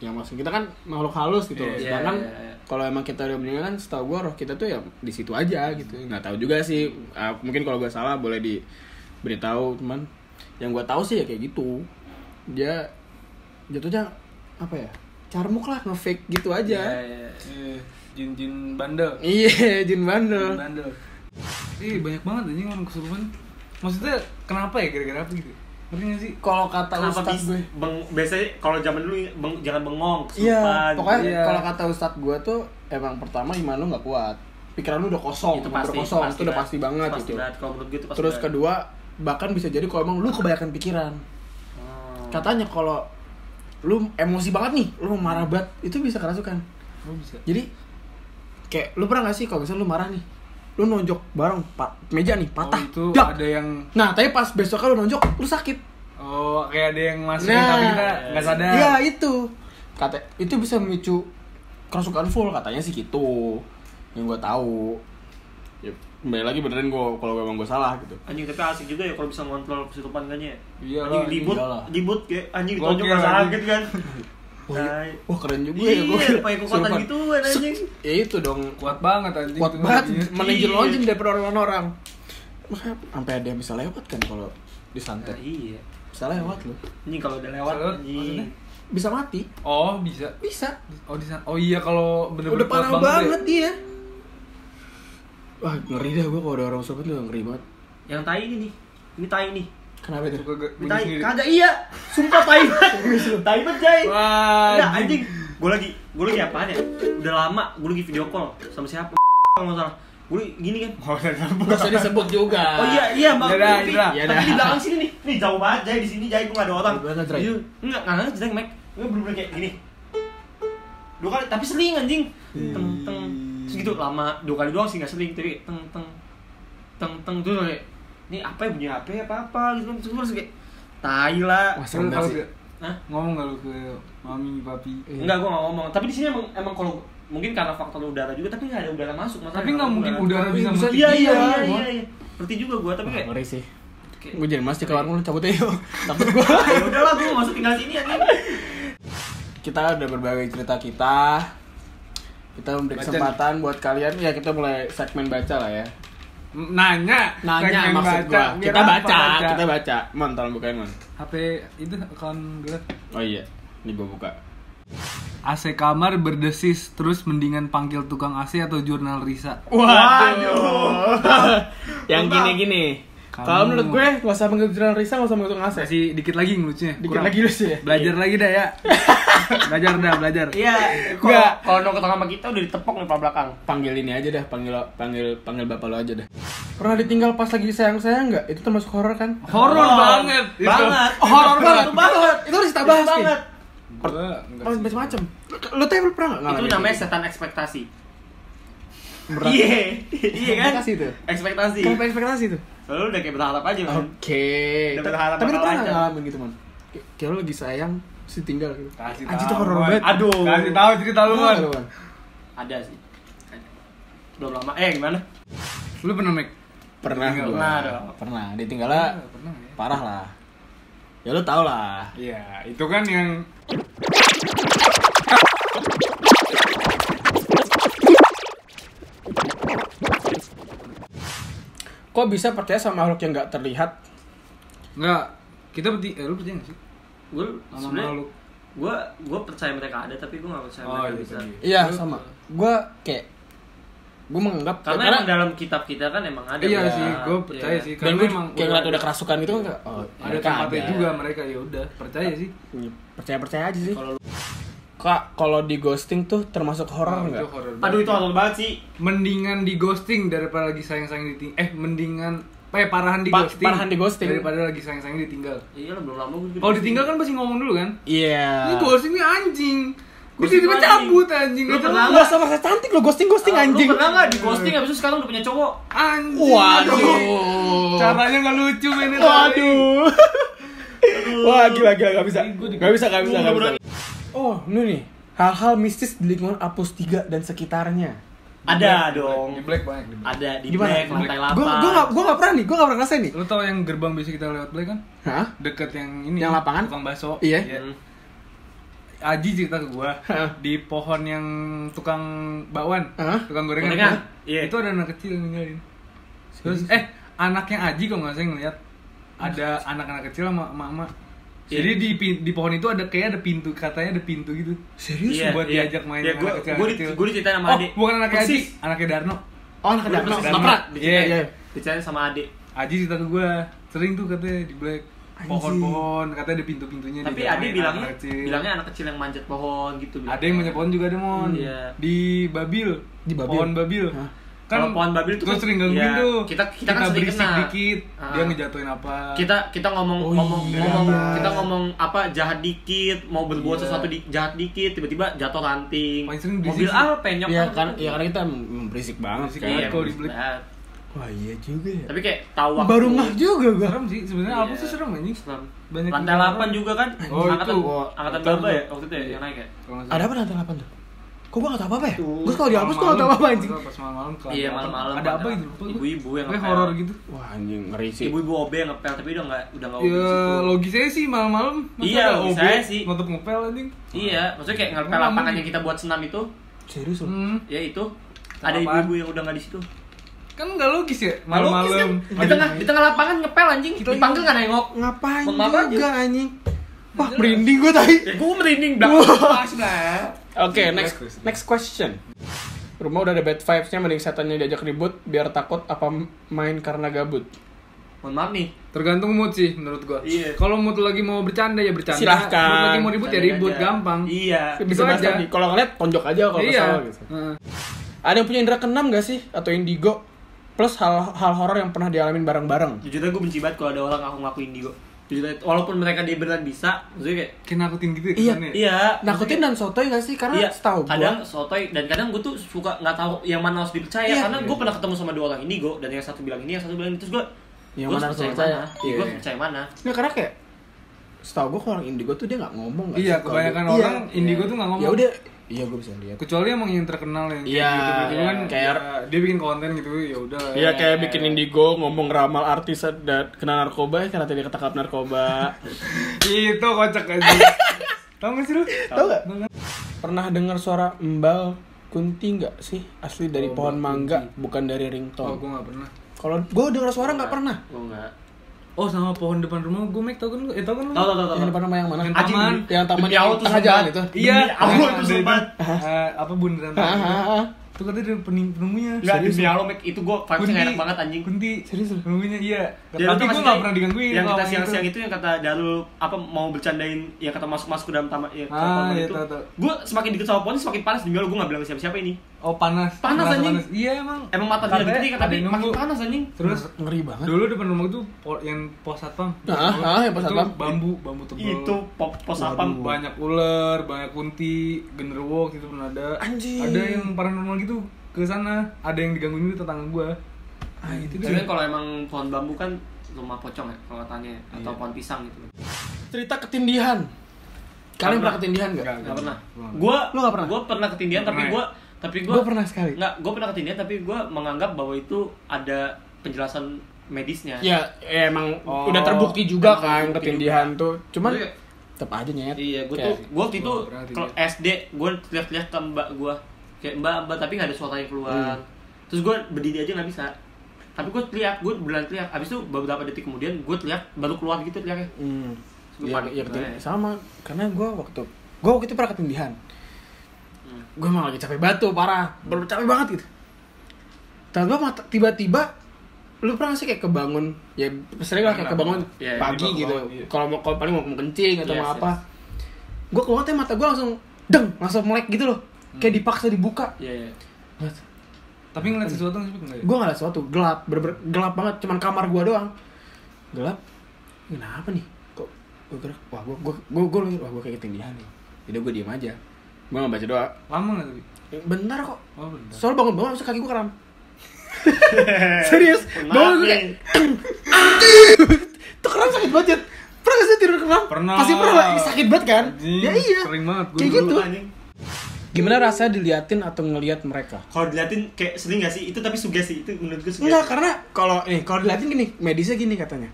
[SPEAKER 2] yang maksud kita kan makhluk halus gitu loh.
[SPEAKER 1] Iya,
[SPEAKER 2] Sedangkan
[SPEAKER 3] iya, iya.
[SPEAKER 2] kalau emang kita udah meninggal kan setahu gua roh kita tuh ya di situ aja gitu. Nggak tahu juga sih. Ah, mungkin kalau gua salah boleh diberitahu cuman yang gua tahu sih ya kayak gitu. Dia jatuhnya apa ya? Carmuk lah ngefake gitu
[SPEAKER 1] Iya.
[SPEAKER 3] Iya,
[SPEAKER 2] aja.
[SPEAKER 1] Eh, Jin-jin bandel.
[SPEAKER 2] Iya,
[SPEAKER 1] Jin
[SPEAKER 2] jin bandel.
[SPEAKER 1] bandel. Ih, banyak banget anjing yang kesurupan. Maksudnya kenapa ya gara-gara apa gitu? Ngerti gak sih?
[SPEAKER 2] Kalau kata
[SPEAKER 3] Kenapa
[SPEAKER 2] ustaz
[SPEAKER 3] bis-
[SPEAKER 2] gue
[SPEAKER 3] beng- biasanya kalau zaman dulu beng- jangan bengong,
[SPEAKER 2] Iya,
[SPEAKER 3] kesurupan.
[SPEAKER 2] pokoknya
[SPEAKER 1] iya.
[SPEAKER 2] kalau kata ustad gue tuh emang pertama iman lu nggak kuat, pikiran lu udah kosong,
[SPEAKER 3] itu
[SPEAKER 2] bener
[SPEAKER 3] pasti,
[SPEAKER 2] kosong, itu udah
[SPEAKER 3] banget.
[SPEAKER 2] pasti banget
[SPEAKER 3] pasti
[SPEAKER 2] gitu.
[SPEAKER 3] banget. Kalau menurut gue itu pasti
[SPEAKER 2] Terus
[SPEAKER 3] banget.
[SPEAKER 2] kedua bahkan bisa jadi kalau emang lu kebanyakan pikiran,
[SPEAKER 3] Hmm.
[SPEAKER 2] katanya kalau lu emosi banget nih, lu marah banget, itu bisa kerasukan.
[SPEAKER 1] Oh, bisa.
[SPEAKER 2] Jadi kayak lu pernah gak sih kalau misalnya lu marah nih, lu nonjok barang pa- meja nih
[SPEAKER 1] Oh,
[SPEAKER 2] patah,
[SPEAKER 1] itu
[SPEAKER 2] dak.
[SPEAKER 1] ada yang
[SPEAKER 2] Nah, tapi pas besoknya lu nonjok, lu sakit.
[SPEAKER 1] oh kayak ada yang masukin
[SPEAKER 2] Nah.
[SPEAKER 1] tapi kita nggak sadar.
[SPEAKER 2] Iya itu. Kata itu bisa memicu kerasukan full katanya sih gitu. Yang gue tahu. Ya, kembali lagi benerin gue kalau memang gue salah gitu.
[SPEAKER 3] Anjing tapi asik juga ya kalau bisa ngontrol kesurupan kan ya.
[SPEAKER 1] Iya
[SPEAKER 3] anjing
[SPEAKER 1] lah,
[SPEAKER 3] ribut,
[SPEAKER 2] iyalah.
[SPEAKER 3] ribut kayak anjing ditonjok
[SPEAKER 1] Gokil,
[SPEAKER 3] nggak
[SPEAKER 1] anjing. iya.
[SPEAKER 3] sakit
[SPEAKER 1] [LAUGHS]
[SPEAKER 3] kan.
[SPEAKER 2] Wah, iya.
[SPEAKER 3] Tai.
[SPEAKER 2] wah, keren juga ya
[SPEAKER 3] Iya,
[SPEAKER 2] gue.
[SPEAKER 3] pakai kekuatan gituan anjing.
[SPEAKER 2] Ya itu dong.
[SPEAKER 1] Kuat banget anjing.
[SPEAKER 2] Kuat
[SPEAKER 1] itu
[SPEAKER 2] banget
[SPEAKER 1] anjingnya.
[SPEAKER 2] manajer
[SPEAKER 3] Iya.
[SPEAKER 2] launching daripada orang-orang. Makanya sampai ada yang bisa lewat kan kalau
[SPEAKER 3] Nah,
[SPEAKER 2] disantet.
[SPEAKER 3] iya.
[SPEAKER 2] Bisa lewat loh.
[SPEAKER 3] Anjing kalau udah lewat
[SPEAKER 1] Salut,
[SPEAKER 3] anjing.
[SPEAKER 1] maksudnya?
[SPEAKER 2] Bisa mati.
[SPEAKER 1] Oh, bisa.
[SPEAKER 2] Bisa.
[SPEAKER 1] Oh, di sana. Oh iya kalau bener-bener
[SPEAKER 2] Udah parah
[SPEAKER 1] kuat
[SPEAKER 2] banget
[SPEAKER 1] ya.
[SPEAKER 2] dia. Wah, ngeri dah gue kalau ada orang sobat tuh ngeri banget.
[SPEAKER 3] Yang tai ini nih. Ini tai nih.
[SPEAKER 2] Kenapa itu?
[SPEAKER 1] Suka gak-
[SPEAKER 3] Ini
[SPEAKER 1] bunyi
[SPEAKER 3] tai.
[SPEAKER 1] sendiri.
[SPEAKER 3] Kagak iya. Sumpah
[SPEAKER 1] [LAUGHS]
[SPEAKER 3] tai. [LAUGHS] tai banget, Jay.
[SPEAKER 1] Wah,
[SPEAKER 3] Enggak,
[SPEAKER 1] anjing. [LAUGHS]
[SPEAKER 3] anjing. Gue lagi, gue lagi apaan ya? Udah lama gue lagi video call sama siapa? Kalau nggak salah. Gue gini kan.
[SPEAKER 1] Oh, udah dapet.
[SPEAKER 2] Gak usah disebut juga.
[SPEAKER 3] Oh iya iya bang.
[SPEAKER 1] Yaudah,
[SPEAKER 3] Tapi-
[SPEAKER 1] yaudah.
[SPEAKER 3] Tapi
[SPEAKER 2] Yaudah.
[SPEAKER 3] di belakang sini nih. Nih jauh banget Jai di sini Jai gua gak ada orang.
[SPEAKER 2] Bener-bener, Jai.
[SPEAKER 3] Iya. Enggak enggak enggak jelek Mike. Gue bener-bener kayak gini. Dua kali tapi sering anjing. Teng teng. Terus gitu lama dua kali doang sih nggak sering tapi teng teng teng teng tuh kayak ini apa ya bunyi HP apa apa gitu kan terus gua langsung kayak tai lah.
[SPEAKER 2] Wah,
[SPEAKER 1] Lu
[SPEAKER 2] serem
[SPEAKER 1] tahu
[SPEAKER 2] banget sih.
[SPEAKER 1] gak?
[SPEAKER 3] Hah?
[SPEAKER 1] gitu. Ngomong gak lu ke mami papi?
[SPEAKER 2] Iya.
[SPEAKER 3] Enggak gua gak ngomong. Tapi di sini emang emang kalau mungkin karena faktor udara juga tapi nggak ada udara masuk masalahnya.
[SPEAKER 1] Tapi nggak
[SPEAKER 3] Kalau
[SPEAKER 1] mungkin udara bisa
[SPEAKER 2] Bisa
[SPEAKER 1] masuk.
[SPEAKER 3] Iya iya
[SPEAKER 2] Iya,
[SPEAKER 3] iya
[SPEAKER 2] gua.
[SPEAKER 3] iya. iya. Ngerti juga gua tapi kayak
[SPEAKER 2] Ngeri sih.
[SPEAKER 3] kayak-
[SPEAKER 2] Gue jadi mas di kamar lu cabut aja yuk. Takut gue.
[SPEAKER 3] [LAUGHS] ya udahlah gue masuk tinggal sini aja
[SPEAKER 2] [LAUGHS] Kita udah berbagi cerita kita. Kita memberi
[SPEAKER 1] Baca
[SPEAKER 2] kesempatan buat kalian. Ya kita mulai segmen baca lah ya.
[SPEAKER 1] Nanya,
[SPEAKER 2] Nanya
[SPEAKER 1] Pengen
[SPEAKER 2] maksud
[SPEAKER 1] baca.
[SPEAKER 2] gue.
[SPEAKER 1] Biar
[SPEAKER 2] Kita
[SPEAKER 1] apa
[SPEAKER 2] baca. Kita baca. Mon, tolong bukain mon.
[SPEAKER 1] HP itu akun gelap.
[SPEAKER 2] Oh iya. Ini gue buka.
[SPEAKER 1] AC kamar berdesis, terus mendingan panggil tukang AC atau jurnal Risa.
[SPEAKER 2] Yang gini-gini.
[SPEAKER 1] Kamu.
[SPEAKER 2] Kalau menurut gue, gak usah panggil Jurnal Risa, gak usah panggil Tukang Ase.
[SPEAKER 1] Masih dikit lagi ngelucunya.
[SPEAKER 2] Dikit
[SPEAKER 1] kurang.
[SPEAKER 2] lagi lu sih ya?
[SPEAKER 1] Belajar lagi dah ya. belajar dah, belajar.
[SPEAKER 2] Eh,
[SPEAKER 3] iya
[SPEAKER 2] Nggak.
[SPEAKER 3] kalau kalau nongkrong sama kita udah ditepok nih pak belakang
[SPEAKER 2] panggil ini aja dah panggil panggil panggil bapak lo aja dah pernah ditinggal pas lagi sayang sayang nggak itu termasuk horor kan
[SPEAKER 1] Horor banget. itu.
[SPEAKER 3] banget
[SPEAKER 2] horor banget
[SPEAKER 3] Itu banget
[SPEAKER 2] itu harus kita bahas
[SPEAKER 3] Itu
[SPEAKER 2] banget
[SPEAKER 3] banget
[SPEAKER 1] Gua enggak sih.
[SPEAKER 2] macam macam lo tuh yang pernah nggak
[SPEAKER 3] itu
[SPEAKER 2] ngalamin gitu?
[SPEAKER 3] namanya setan ekspektasi
[SPEAKER 2] Berat.
[SPEAKER 3] iya iya kan
[SPEAKER 2] Ekspektasi itu.
[SPEAKER 3] ekspektasi
[SPEAKER 2] kenapa ekspektasi tuh
[SPEAKER 3] lalu udah kayak berharap aja
[SPEAKER 2] oke
[SPEAKER 3] man Udah berharap
[SPEAKER 2] tapi lo pernah
[SPEAKER 3] bakal
[SPEAKER 2] nggak
[SPEAKER 3] lancar.
[SPEAKER 2] ngalamin gitu man Kayak- kayak lo lagi sayang terus ditinggal gitu
[SPEAKER 1] Kasih tahu,
[SPEAKER 2] Anjir, itu horor
[SPEAKER 1] Mon.
[SPEAKER 2] banget
[SPEAKER 3] aduh
[SPEAKER 1] Kasih tahu cerita lu,
[SPEAKER 2] Pernah
[SPEAKER 1] Mon.
[SPEAKER 2] nggak lo, Man?
[SPEAKER 3] ada sih Ada. belum lama eh gimana
[SPEAKER 1] Lu pernah make?
[SPEAKER 2] pernah
[SPEAKER 1] Ditinggal.
[SPEAKER 2] gua.
[SPEAKER 3] Pernah dong.
[SPEAKER 2] pernah ditinggalnya
[SPEAKER 1] Pernah ya?
[SPEAKER 2] parah lah ya lo tau lah
[SPEAKER 1] Iya, itu kan yang
[SPEAKER 2] kok bisa percaya sama makhluk yang nggak terlihat
[SPEAKER 1] enggak kita berarti eh, lu percaya nggak sih?
[SPEAKER 3] gue
[SPEAKER 1] Sama
[SPEAKER 3] sebenarnya
[SPEAKER 1] makhluk.
[SPEAKER 3] gue gue percaya mereka ada tapi gue gak percaya
[SPEAKER 1] Oh,
[SPEAKER 3] mereka
[SPEAKER 1] iya,
[SPEAKER 3] bisa
[SPEAKER 1] tadi.
[SPEAKER 2] Iya sama. Gua kayak gua menganggap
[SPEAKER 3] karena emang dalam kitab kita kan emang ada
[SPEAKER 1] Iya
[SPEAKER 3] ya.
[SPEAKER 1] sih, gue percaya
[SPEAKER 3] Iya.
[SPEAKER 1] sih
[SPEAKER 2] dan
[SPEAKER 1] karena
[SPEAKER 2] gua
[SPEAKER 1] emang
[SPEAKER 2] kayak ngeliat udah kerasukan gitu kan kayak, oh,
[SPEAKER 1] ada
[SPEAKER 2] mereka
[SPEAKER 1] tempatnya
[SPEAKER 2] ada.
[SPEAKER 1] juga mereka ya udah percaya sih.
[SPEAKER 2] Percaya percaya Iya, aja sih. Kalau Kak, kalau di ghosting tuh termasuk horor
[SPEAKER 1] Itu
[SPEAKER 2] nggak?
[SPEAKER 1] horor banget.
[SPEAKER 3] aduh Nah, itu horor banget sih
[SPEAKER 1] mendingan di ghosting daripada lagi sayang-sayang diting eh mendingan eh parahan di
[SPEAKER 2] Pa-
[SPEAKER 1] ghosting
[SPEAKER 2] parahan di ghosting.
[SPEAKER 1] daripada lagi sayang-sayang ditinggal
[SPEAKER 3] iya lah belum lama gue
[SPEAKER 1] kalau ditinggal kan pasti ngomong dulu kan
[SPEAKER 2] Iya.
[SPEAKER 1] ini ghosting ini anjing gue
[SPEAKER 3] Ghosting
[SPEAKER 1] tiba
[SPEAKER 3] anjing.
[SPEAKER 1] cabut anjing
[SPEAKER 3] Lu
[SPEAKER 1] Gak jelas.
[SPEAKER 3] pernah
[SPEAKER 2] Nggak sama saya cantik lo ghosting ghosting anjing.
[SPEAKER 3] Ah, Lu pernah nggak di ghosting abis itu sekarang udah punya cowok?
[SPEAKER 1] anjing
[SPEAKER 2] Waduh.
[SPEAKER 1] caranya nggak lucu ini tadi.
[SPEAKER 2] Waduh. Wah gila gila gak bisa, gak bisa gak bisa
[SPEAKER 3] Gua
[SPEAKER 2] gak bisa.
[SPEAKER 3] bener-bener-
[SPEAKER 2] Oh ini nih hal-hal mistis di lingkungan Apus 3 dan sekitarnya.
[SPEAKER 1] Di black,
[SPEAKER 3] Ada dong.
[SPEAKER 1] di black banyak di black.
[SPEAKER 3] Ada di
[SPEAKER 2] Gimana?
[SPEAKER 3] black,
[SPEAKER 2] Di
[SPEAKER 3] lantai Hmm.
[SPEAKER 2] Gue gue gak
[SPEAKER 3] 8.
[SPEAKER 2] gue gak pernah nih, gue gak pernah ngerasain nih.
[SPEAKER 1] lu tau yang gerbang biasa kita lewat black kan
[SPEAKER 2] Hah?
[SPEAKER 1] deket yang ini
[SPEAKER 2] Yang lapangan?
[SPEAKER 1] tukang bakso
[SPEAKER 2] Iya.
[SPEAKER 3] Hmm.
[SPEAKER 1] Aji cerita ke gua di pohon yang tukang bakwan,
[SPEAKER 2] Hah?
[SPEAKER 1] tukang gorengan.
[SPEAKER 3] Gorengan?
[SPEAKER 1] Hah?
[SPEAKER 3] Iya.
[SPEAKER 1] Itu ada anak kecil yang ninggalin. Terus eh anaknya Aji kalau nggak saya ngeliat ada anak-anak kecil sama emak-emak.
[SPEAKER 3] Iya.
[SPEAKER 1] Jadi di pin- di pohon itu ada kayak ada pintu katanya ada pintu gitu.
[SPEAKER 2] Serius?
[SPEAKER 1] Iya. buat diajak main
[SPEAKER 3] Iya,
[SPEAKER 1] anak
[SPEAKER 3] gua
[SPEAKER 1] kecil, anak
[SPEAKER 3] gua
[SPEAKER 1] kecil.
[SPEAKER 3] di- gua diceritain sama
[SPEAKER 1] Oh,
[SPEAKER 3] adik.
[SPEAKER 1] bukan anaknya Aji,
[SPEAKER 3] Persis.
[SPEAKER 1] anaknya Darno.
[SPEAKER 2] Oh, anak kedap.
[SPEAKER 3] Persis,
[SPEAKER 1] Darno.
[SPEAKER 2] Napra.
[SPEAKER 1] Iya.
[SPEAKER 2] Iya.
[SPEAKER 3] Diceritain sama adik.
[SPEAKER 1] Aji cerita ke gue sering tuh katanya di black pohon-pohon katanya ada pintu-pintunya
[SPEAKER 3] Tapi
[SPEAKER 1] diajak
[SPEAKER 3] adik
[SPEAKER 1] main
[SPEAKER 3] bilangnya
[SPEAKER 1] anak kecil.
[SPEAKER 3] bilangnya anak kecil yang manjat pohon gitu.
[SPEAKER 1] ada yang punya pohon juga ada mon
[SPEAKER 3] Iya.
[SPEAKER 1] di babil
[SPEAKER 2] Di Babil?
[SPEAKER 1] pohon babil
[SPEAKER 2] Hah?
[SPEAKER 3] Kalau pohon Babil tuh
[SPEAKER 1] gua
[SPEAKER 3] kan-
[SPEAKER 1] sering gangguin
[SPEAKER 3] iya,
[SPEAKER 1] tuh
[SPEAKER 3] kita- kita kan sering
[SPEAKER 1] berisik
[SPEAKER 3] kena.
[SPEAKER 1] dikit
[SPEAKER 3] Ah.
[SPEAKER 1] dia ngejatuhin apa
[SPEAKER 3] kita kita ngomong
[SPEAKER 2] Oh
[SPEAKER 3] ngomong
[SPEAKER 2] iya,
[SPEAKER 3] ngomong
[SPEAKER 2] benar.
[SPEAKER 3] kita ngomong apa jahat dikit mau berbuat
[SPEAKER 1] Iya.
[SPEAKER 3] sesuatu di, jahat dikit tiba-tiba jatuh ranting
[SPEAKER 1] Paling sering di
[SPEAKER 3] mobil
[SPEAKER 1] sini.
[SPEAKER 3] apa penyok
[SPEAKER 2] Iya kan, ya karena kita emang berisik banget
[SPEAKER 1] Berisik
[SPEAKER 2] kan.
[SPEAKER 1] banget.
[SPEAKER 3] iya,
[SPEAKER 1] kalau di
[SPEAKER 3] berisik
[SPEAKER 1] Black.
[SPEAKER 3] banget.
[SPEAKER 2] Wah iya juga ya.
[SPEAKER 3] tapi kayak tahu waktu
[SPEAKER 2] Baru ngeh juga gua.
[SPEAKER 1] serem sih sebenarnya
[SPEAKER 3] Iya.
[SPEAKER 1] album tuh serem anjing
[SPEAKER 3] Serem.
[SPEAKER 1] Banyak
[SPEAKER 3] lantai
[SPEAKER 1] yang
[SPEAKER 3] 8
[SPEAKER 1] orang.
[SPEAKER 3] juga kan
[SPEAKER 1] Oh, itu.
[SPEAKER 3] angkatan
[SPEAKER 2] Wah,
[SPEAKER 3] angkatan
[SPEAKER 1] itu.
[SPEAKER 3] berapa ya waktu itu ya yang naik ya
[SPEAKER 1] Kalau nggak salah.
[SPEAKER 2] Ada apa nanti 8 tuh? Kok gua gak tau apa-apa ya?
[SPEAKER 3] Tuh.
[SPEAKER 2] Gua kalau dihapus tuh gak tau
[SPEAKER 1] Malam-malam,
[SPEAKER 2] apa anjing.
[SPEAKER 1] pas malam-malam kelar.
[SPEAKER 3] Iya, malam-malam
[SPEAKER 1] ada
[SPEAKER 3] ada
[SPEAKER 1] apa gitu lupa gua.
[SPEAKER 3] ibu-ibu yang
[SPEAKER 1] kayak
[SPEAKER 3] ngepel.
[SPEAKER 1] horor gitu
[SPEAKER 2] Wah anjing ngeri sih.
[SPEAKER 3] ibu-ibu OB yang ngepel tapi udah nggak udah nggak OB di
[SPEAKER 1] ya
[SPEAKER 3] situ.
[SPEAKER 1] logisnya sih malam-malam masa
[SPEAKER 3] Iya,
[SPEAKER 1] ada
[SPEAKER 3] logis
[SPEAKER 1] OB,
[SPEAKER 3] saya sih.
[SPEAKER 1] nutup ngepel anjing
[SPEAKER 3] iya maksudnya kayak ngepel
[SPEAKER 1] Emang lama
[SPEAKER 3] lapangan
[SPEAKER 1] nih?
[SPEAKER 3] yang kita buat senam itu
[SPEAKER 2] Serius lu?
[SPEAKER 1] Hmm.
[SPEAKER 3] ya itu ada
[SPEAKER 1] Apaan?
[SPEAKER 3] ibu-ibu yang udah nggak di situ
[SPEAKER 1] kan nggak logis ya
[SPEAKER 3] Nggak logis kan?
[SPEAKER 1] malam-malam
[SPEAKER 3] di tengah di tengah lapangan ngepel anjing
[SPEAKER 1] Kita-
[SPEAKER 3] dipanggil nggak nengok
[SPEAKER 2] Ngapain
[SPEAKER 3] Mau ngapa aja?
[SPEAKER 2] juga anjing? Wah merinding gua tadi.
[SPEAKER 3] ya gue merinding belakang pas lah
[SPEAKER 2] Oke, next next question. Rumah udah ada bad vibes-nya mending setannya diajak ribut biar takut apa main karena gabut.
[SPEAKER 3] mohon maaf nih
[SPEAKER 1] Tergantung mood sih menurut gua.
[SPEAKER 3] Iya.
[SPEAKER 1] Kalau mood lagi mau bercanda ya bercanda.
[SPEAKER 2] Silahkan.
[SPEAKER 1] Mood lagi mau ribut ya
[SPEAKER 3] Santai
[SPEAKER 1] ribut
[SPEAKER 3] aja.
[SPEAKER 1] gampang.
[SPEAKER 3] iya
[SPEAKER 1] Bisa
[SPEAKER 2] Bisa
[SPEAKER 1] aja.
[SPEAKER 2] bahasa di- kalau ngeliat tonjok aja kalau
[SPEAKER 1] iya.
[SPEAKER 2] kesal gitu.
[SPEAKER 1] Heeh.
[SPEAKER 2] Ada yang punya indera keenam gak sih atau indigo? Plus hal hal horor yang pernah dialamin bareng-bareng.
[SPEAKER 3] jujur aja gue benci banget kalau ada orang aku ngakuin indigo jujur aja walaupun mereka dia beneran bisa maksudnya kayak
[SPEAKER 1] Kayak nakutin gitu ya
[SPEAKER 2] Iya,
[SPEAKER 1] kesannya.
[SPEAKER 3] iya
[SPEAKER 2] Nakutin dan sotoy gak sih? Karena
[SPEAKER 3] Iya,
[SPEAKER 2] setahu gua
[SPEAKER 3] kadang sotoy dan kadang gue tuh suka nggak tahu yang mana harus dipercaya
[SPEAKER 2] Iya.
[SPEAKER 3] karena gue pernah ketemu sama dua orang indigo dan yang satu bilang ini yang satu bilang ini terus gue
[SPEAKER 2] Yang
[SPEAKER 3] gua
[SPEAKER 2] mana
[SPEAKER 3] harus
[SPEAKER 2] harus
[SPEAKER 3] percaya
[SPEAKER 2] percaya?
[SPEAKER 3] mana?
[SPEAKER 2] Iya,
[SPEAKER 3] Gue
[SPEAKER 2] iya.
[SPEAKER 3] percaya mana?
[SPEAKER 2] Nggak, karena kayak setahu gua kalau orang indigo tuh dia nggak ngomong nggak
[SPEAKER 1] Iya,
[SPEAKER 2] sih? Kalau
[SPEAKER 1] kebanyakan
[SPEAKER 2] dia-
[SPEAKER 1] orang
[SPEAKER 2] iya.
[SPEAKER 1] indigo tuh nggak ngomong.
[SPEAKER 2] Ya udah, iya gua bisa lihat.
[SPEAKER 1] Kecuali emang yang terkenal yang
[SPEAKER 2] Iya,
[SPEAKER 1] gitu kan
[SPEAKER 2] kayak-
[SPEAKER 1] ya, dia bikin konten gitu ya udah.
[SPEAKER 2] Iya kayak bikin indigo ngomong ramal artis dan kena narkoba ya karena tadi ketangkap narkoba.
[SPEAKER 1] Itu kocak aja. Tahu gak sih lu?
[SPEAKER 2] Tahu nggak? [LAUGHS] Pernah dengar suara embal kunti nggak sih? Asli dari
[SPEAKER 1] Oh,
[SPEAKER 2] pohon
[SPEAKER 1] embal
[SPEAKER 2] mangga, bukan dari
[SPEAKER 1] Oh,
[SPEAKER 2] ringtone.
[SPEAKER 1] gua nggak pernah.
[SPEAKER 2] Kalau gua dengar suara nggak pernah.
[SPEAKER 3] Gue nggak.
[SPEAKER 1] Oh, sama pohon depan rumah gua make tau kan? lu? Eh, tau kan lu?
[SPEAKER 3] Tahu tahu tahu.
[SPEAKER 2] Yang depan rumah yang mana?
[SPEAKER 1] Yang
[SPEAKER 2] Aji,
[SPEAKER 1] taman.
[SPEAKER 2] yang taman
[SPEAKER 3] Demi
[SPEAKER 2] yang
[SPEAKER 3] Allah tuh
[SPEAKER 2] tengah
[SPEAKER 3] sumpah.
[SPEAKER 2] jalan itu.
[SPEAKER 1] Iya,
[SPEAKER 3] Demi Allah, itu
[SPEAKER 1] Ada
[SPEAKER 3] [LAUGHS] sobat.
[SPEAKER 1] Eh, apa bundaran
[SPEAKER 2] [LAUGHS] Hah,
[SPEAKER 1] tadi?
[SPEAKER 2] hah, hah.
[SPEAKER 1] Itu katanya dari pening- penunggunya.
[SPEAKER 3] Enggak, demi Allah, Mac, itu gue vibes
[SPEAKER 1] Kunti.
[SPEAKER 3] enak banget anjing.
[SPEAKER 1] Kunti.
[SPEAKER 2] Serius lu?
[SPEAKER 1] Penunggunya iya.
[SPEAKER 3] Ya, lu
[SPEAKER 1] Tapi
[SPEAKER 3] tau
[SPEAKER 1] gua
[SPEAKER 3] sih,
[SPEAKER 1] nggak
[SPEAKER 3] Tay?
[SPEAKER 1] pernah digangguin. gitu.
[SPEAKER 3] Yang
[SPEAKER 1] sama
[SPEAKER 3] kita
[SPEAKER 1] orang
[SPEAKER 3] siang-siang itu yang kata Darul apa mau bercandain yang kata masuk-masuk ke dalam taman ya, ke
[SPEAKER 1] Ah,
[SPEAKER 3] taman
[SPEAKER 1] iya,
[SPEAKER 3] itu.
[SPEAKER 1] tahu, tahu.
[SPEAKER 3] Gue semakin deket sama pohon semakin panas demi Allah gue nggak bilang ke siapa-siapa ini.
[SPEAKER 1] Oh panas.
[SPEAKER 3] Panas,
[SPEAKER 1] Merasa
[SPEAKER 3] anjing.
[SPEAKER 1] Iya emang.
[SPEAKER 3] Emang mata dia
[SPEAKER 1] Katanya
[SPEAKER 3] gede
[SPEAKER 1] ada
[SPEAKER 3] tapi
[SPEAKER 1] yang
[SPEAKER 3] makin
[SPEAKER 1] nunggu.
[SPEAKER 3] panas anjing.
[SPEAKER 1] Terus
[SPEAKER 2] Ngeri banget.
[SPEAKER 1] dulu depan rumah itu po- yang pos satpam.
[SPEAKER 2] Ah, ah, yang pos
[SPEAKER 1] Itu
[SPEAKER 2] satpam.
[SPEAKER 1] Bambu, bambu tebal.
[SPEAKER 3] Itu pop pos apa?
[SPEAKER 1] banyak ular, banyak kunti, genderuwo gitu pernah ada.
[SPEAKER 2] Anjing.
[SPEAKER 1] Ada yang paranormal gitu ke sana. Ada yang digangguin itu tetangga gua. Ah, itu
[SPEAKER 2] Gitu.
[SPEAKER 3] Tapi kan kalau emang pohon bambu kan rumah pocong ya kalau katanya
[SPEAKER 2] Iya.
[SPEAKER 3] atau pohon pisang gitu.
[SPEAKER 2] Cerita ketindihan. Kalian pernah ketindihan nggak?
[SPEAKER 1] Nggak.
[SPEAKER 3] Gak pernah.
[SPEAKER 1] Gua-
[SPEAKER 3] Gua
[SPEAKER 2] Lu nggak pernah?
[SPEAKER 3] Gua pernah ketindihan tapi
[SPEAKER 1] Pernah ya?
[SPEAKER 3] gua tapi gua
[SPEAKER 2] Gua pernah sekali.
[SPEAKER 3] Enggak, gua pernah ketindihan tapi gua menganggap bahwa itu ada penjelasan medisnya.
[SPEAKER 2] Ya, ya emang
[SPEAKER 1] Oh,
[SPEAKER 2] udah terbukti juga
[SPEAKER 3] emang
[SPEAKER 2] kan
[SPEAKER 3] terbukti
[SPEAKER 2] ketindihan tuh. Cuman
[SPEAKER 3] Iya.
[SPEAKER 2] tetap aja nyet.
[SPEAKER 3] Iya, gue tuh
[SPEAKER 2] Kayak-
[SPEAKER 3] gue waktu itu
[SPEAKER 1] Gua nggak pernah
[SPEAKER 3] kalau SD gue teriak-teriak ke mbak gue kayak mbak mbak tapi nggak ada suara yang keluar.
[SPEAKER 2] Hmm.
[SPEAKER 3] Terus gue berdiri aja nggak bisa. Tapi gue teriak, gue beneran teriak. Abis itu beberapa detik kemudian gue teriak, baru keluar gitu teriaknya.
[SPEAKER 2] Hmm.
[SPEAKER 3] Gua
[SPEAKER 2] Ya,
[SPEAKER 3] panik
[SPEAKER 2] ya, ketin-
[SPEAKER 3] banget.
[SPEAKER 2] sama karena gue waktu gue waktu itu pernah ketindihan. Gue emang lagi capek batu parah, baru capek banget gitu. Tiba-tiba mata- tiba-tiba lu pernah nggak sih kayak kebangun ya sering lah kayak
[SPEAKER 1] Pernah.
[SPEAKER 2] kebangun
[SPEAKER 3] Iya,
[SPEAKER 2] pagi
[SPEAKER 1] tiba
[SPEAKER 2] gitu
[SPEAKER 1] kebangun, iya.
[SPEAKER 2] kalau mau kalau paling mau kencing atau
[SPEAKER 3] Yes,
[SPEAKER 2] mau
[SPEAKER 3] yes.
[SPEAKER 2] apa gue keluar tuh mata gue langsung deng langsung melek gitu loh kayak dipaksa dibuka
[SPEAKER 3] Iya, iya.
[SPEAKER 1] Tapi ngeliat sesuatu nggak sih enggak ya?
[SPEAKER 2] gue nggak ada sesuatu gelap bener gelap banget cuman kamar gue doang gelap kenapa nih kok gue gerak wah gue gue gue gue wah gue kayak ketindihan nih jadi gue diem aja gue nggak baca doa
[SPEAKER 1] Lama nggak tapi?
[SPEAKER 2] bentar kok
[SPEAKER 1] Oh, bentar.
[SPEAKER 2] soal bangun bangun abis itu kaki
[SPEAKER 1] [LAUGHS]
[SPEAKER 2] gue kram serius bangun gue kayak tuh kram sakit banget Jat. pernah gak sih tidur kram
[SPEAKER 1] Pernah.
[SPEAKER 2] pasti pernah lah. Ih, sakit banget kan
[SPEAKER 1] Anjing,
[SPEAKER 2] ya iya
[SPEAKER 1] sering banget gua
[SPEAKER 2] kayak
[SPEAKER 1] dulu.
[SPEAKER 2] gitu
[SPEAKER 3] Anjing.
[SPEAKER 2] gimana rasanya diliatin atau ngelihat mereka
[SPEAKER 3] Kalau diliatin kayak sering gak sih? Itu tapi sugesti itu menurut gue sugesti.
[SPEAKER 2] Enggak, karena kalau nih kalau dilihatin gini, medisnya gini katanya.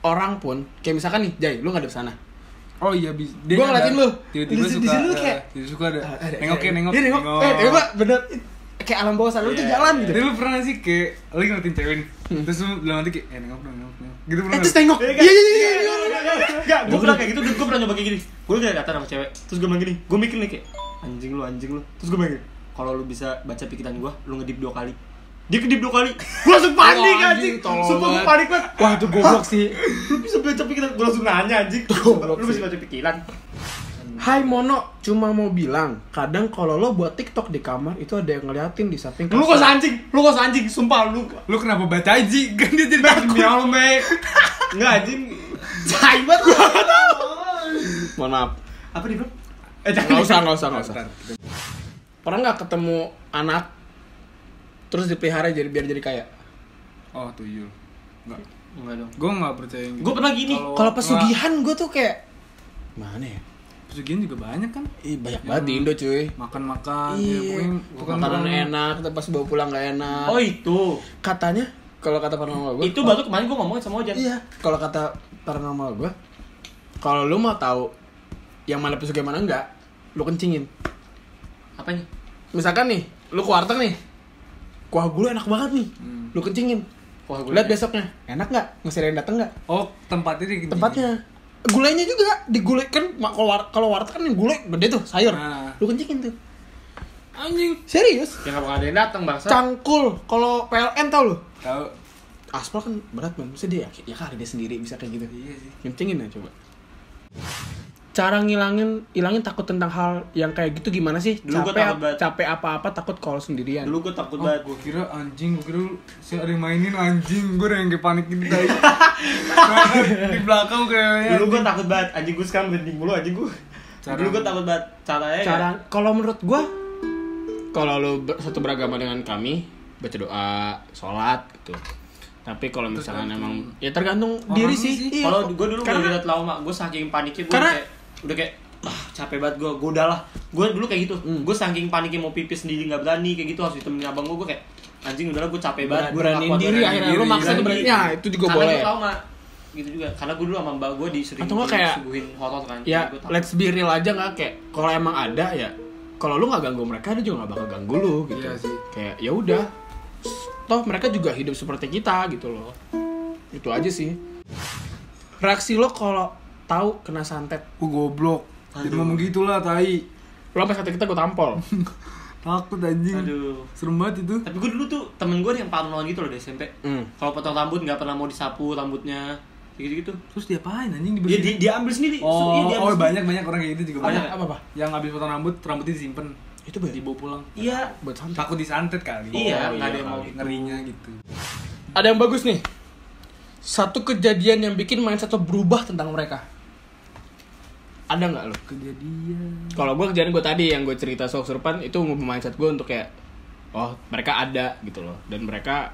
[SPEAKER 2] Orang pun kayak misalkan nih, Jai, lu nggak ada di sana.
[SPEAKER 1] Oh iya bis.
[SPEAKER 2] Gua ngeliatin
[SPEAKER 1] nyadar.
[SPEAKER 2] lu.
[SPEAKER 1] Tiba-tiba
[SPEAKER 2] Di- di
[SPEAKER 1] suka.
[SPEAKER 2] sini lu
[SPEAKER 1] eh,
[SPEAKER 2] kayak-
[SPEAKER 1] Tiba-tiba suka ada.
[SPEAKER 2] Ah, ada,
[SPEAKER 1] Nengok ya
[SPEAKER 2] ada.
[SPEAKER 1] nengok.
[SPEAKER 2] Iya, nengok. Eh, nengok bener. Kayak alam bawah sadar lu tuh
[SPEAKER 1] Iya.
[SPEAKER 2] jalan gitu.
[SPEAKER 1] Tapi lu pernah sih kayak lu ngeliatin cewek nih. Terus lu bilang nanti kayak eh nengok dong nengok. nengok. Gitu pernah.
[SPEAKER 2] Hmm. Eh, terus
[SPEAKER 1] nggak?
[SPEAKER 2] tengok. Iya, iya, iya, iya.
[SPEAKER 3] Enggak, gue bilang kayak gitu, gue pernah nyoba kayak gini Gue kayak kata sama cewek, terus gue bilang gini Gue mikir nih kayak, anjing lu, anjing lu Terus gue bilang gini, kalau lu bisa baca pikiran gue, lu ngedip dua kali Dia kedip dua kali, gue langsung panik
[SPEAKER 2] Wah, anjing,
[SPEAKER 3] anjing
[SPEAKER 2] tolol
[SPEAKER 3] Sumpah gue
[SPEAKER 2] banget.
[SPEAKER 3] panik banget
[SPEAKER 2] Wah, itu goblok sih.
[SPEAKER 3] Lu bisa baca pikiran, gue langsung nanya anjing
[SPEAKER 2] Goblok
[SPEAKER 3] Lu bisa
[SPEAKER 2] sih.
[SPEAKER 3] baca pikiran
[SPEAKER 2] Hai Mono, cuma mau bilang, kadang kalau lo buat TikTok di kamar itu ada yang ngeliatin di samping
[SPEAKER 3] Lu kok anjing, lu kok anjing, sumpah lu
[SPEAKER 1] Lu kenapa baca aji? [LAUGHS] Kan dia jadi
[SPEAKER 3] Demi Allah, Mek Enggak anjing
[SPEAKER 2] Tai banget. Gua nggak tahu. Mohon maaf.
[SPEAKER 3] Apa dia bilang? Eh
[SPEAKER 2] Enggak usah, enggak usah, enggak usah.
[SPEAKER 1] gitu. Bentar.
[SPEAKER 2] Pernah nggak ketemu anak terus dipelihara jadi biar jadi kaya?
[SPEAKER 1] Oh tuyul. Enggak.
[SPEAKER 3] Enggak dong
[SPEAKER 1] Gue nggak percaya yang gitu.
[SPEAKER 3] Gue pernah gini
[SPEAKER 2] Kalau pesugihan gue tuh kayak mana ya?
[SPEAKER 1] pesugihan juga banyak kan.
[SPEAKER 2] Ih, banyak banget di Indo, cuy.
[SPEAKER 1] Makan-makan. ya,
[SPEAKER 2] Iya,
[SPEAKER 1] pokoknya
[SPEAKER 2] makanan
[SPEAKER 1] tukang-
[SPEAKER 2] enak, tapi pas bawa pulang nggak enak.
[SPEAKER 3] Oh itu,
[SPEAKER 2] katanya kalau kata paranormal gue
[SPEAKER 3] itu baru kemarin gue ngomongin sama Ojan
[SPEAKER 2] iya kalau kata paranormal gue kalau lu mau tahu yang mana pesugihan mana enggak lu kencingin
[SPEAKER 3] Apanya?
[SPEAKER 2] misalkan nih lu ke warteg nih kuah gulai enak banget nih lu kencingin
[SPEAKER 3] Wah, gue
[SPEAKER 2] lihat besoknya Hmm. enak nggak masih ada yang datang nggak
[SPEAKER 1] Oh tempatnya di
[SPEAKER 2] tempatnya gulainya juga digulai kan ma- kalau war- kalau warteg kan yang gulai gede tuh sayur
[SPEAKER 1] Ah.
[SPEAKER 2] lu kencingin tuh
[SPEAKER 1] Anjing.
[SPEAKER 2] serius
[SPEAKER 3] Ya gak bakal ada yang datang bangsa
[SPEAKER 2] cangkul kalau PLN tau lu
[SPEAKER 1] Tahu.
[SPEAKER 2] aspal kan berat banget mesti dia ya kali dia sendiri bisa kayak gitu
[SPEAKER 1] Iya sih.
[SPEAKER 2] Kencingin ya coba. Cara ngilangin ilangin takut tentang hal yang kayak gitu gimana sih?
[SPEAKER 3] Dulu
[SPEAKER 2] capek
[SPEAKER 3] gua takut
[SPEAKER 2] ap-
[SPEAKER 3] banget.
[SPEAKER 2] capek apa-apa takut kalau sendirian.
[SPEAKER 3] Dulu gue takut
[SPEAKER 1] Oh,
[SPEAKER 3] banget
[SPEAKER 1] gue kira anjing, gue kira lu si ada yang mainin anjing, gue udah yang kepanikin
[SPEAKER 3] [LAUGHS]
[SPEAKER 1] tadi. Banget, di belakang
[SPEAKER 2] Iya,
[SPEAKER 1] kayaknya.
[SPEAKER 3] Dulu gue takut banget, anjing gue sekarang merinding mulu anjing gue
[SPEAKER 1] Cara-
[SPEAKER 3] Dulu gue takut banget, caranya
[SPEAKER 2] Cara kalau menurut gua Eh, kalau lo ber- satu beragama dengan kami baca doa, sholat gitu. Tapi kalau misalkan emang ya tergantung
[SPEAKER 1] Orangnya
[SPEAKER 2] diri sih.
[SPEAKER 1] sih.
[SPEAKER 2] Iya.
[SPEAKER 3] Kalau gue dulu gue
[SPEAKER 2] karena
[SPEAKER 3] liat lama, gue saking paniknya gue
[SPEAKER 2] Karena-
[SPEAKER 3] kayak Udah kayak, ah capek banget gue, gue udahlah Gue dulu kayak gitu,
[SPEAKER 2] Hmm.
[SPEAKER 3] gue saking paniknya mau pipis sendiri gak berani kayak gitu Harus ditemenin abang gue, gue kayak Anjing udahlah gue capek banget, gue
[SPEAKER 2] beraniin diri akhirnya lo
[SPEAKER 1] diri,
[SPEAKER 2] maksa
[SPEAKER 1] berani
[SPEAKER 2] tuh berani. Ya, itu juga
[SPEAKER 3] Karena
[SPEAKER 2] boleh.
[SPEAKER 3] gue trauma gitu juga karena gue dulu sama mbak gue disuruh
[SPEAKER 2] Atau nggak kayak-
[SPEAKER 3] disuguhin horor kan
[SPEAKER 2] Ya,
[SPEAKER 3] Jadi gua takut.
[SPEAKER 2] let's be real aja nggak kayak kalau emang ada ya kalau lu nggak ganggu mereka dia juga nggak bakal ganggu lu gitu.
[SPEAKER 1] Iya sih.
[SPEAKER 2] Kayak ya udah. Toh mereka juga hidup seperti kita gitu loh. Itu aja sih. Reaksi lo kalau tahu kena santet.
[SPEAKER 1] Gue goblok. Jadi ngomong gitulah tai.
[SPEAKER 2] Lo sampai santet kita gue tampol.
[SPEAKER 1] Takut anjing.
[SPEAKER 3] aduh
[SPEAKER 1] Serem banget itu.
[SPEAKER 3] tapi gue dulu tuh temen gue yang paranoid gitu loh di SMP
[SPEAKER 2] Hmm.
[SPEAKER 3] kalau potong rambut nggak pernah mau disapu rambutnya gitu gitu
[SPEAKER 1] Terus diapain anjing di
[SPEAKER 2] Iya,
[SPEAKER 3] dia, dia, dia ambil sendiri
[SPEAKER 1] Oh,
[SPEAKER 3] Iya, dia ambil
[SPEAKER 1] oh
[SPEAKER 3] sendiri.
[SPEAKER 1] banyak banyak orang kayak gitu juga banyak.
[SPEAKER 3] Banyak.
[SPEAKER 2] Apa apa?
[SPEAKER 1] Yang habis potong rambut, rambutnya disimpan,
[SPEAKER 2] Itu buat
[SPEAKER 1] dibawa pulang.
[SPEAKER 3] iya
[SPEAKER 2] buat santet.
[SPEAKER 1] Takut disantet kali.
[SPEAKER 3] iya
[SPEAKER 1] Oh,
[SPEAKER 3] nggak ada yang mau
[SPEAKER 1] kali. ngerinya gitu.
[SPEAKER 2] Ada yang bagus nih. Satu kejadian yang bikin mindset lo berubah tentang mereka. Ada nggak lo?
[SPEAKER 1] Kejadian.
[SPEAKER 2] Kalau gue kerjaan gue tadi yang gue cerita soal kesurupan itu ngubah mindset gue untuk kayak oh mereka ada gitu loh dan mereka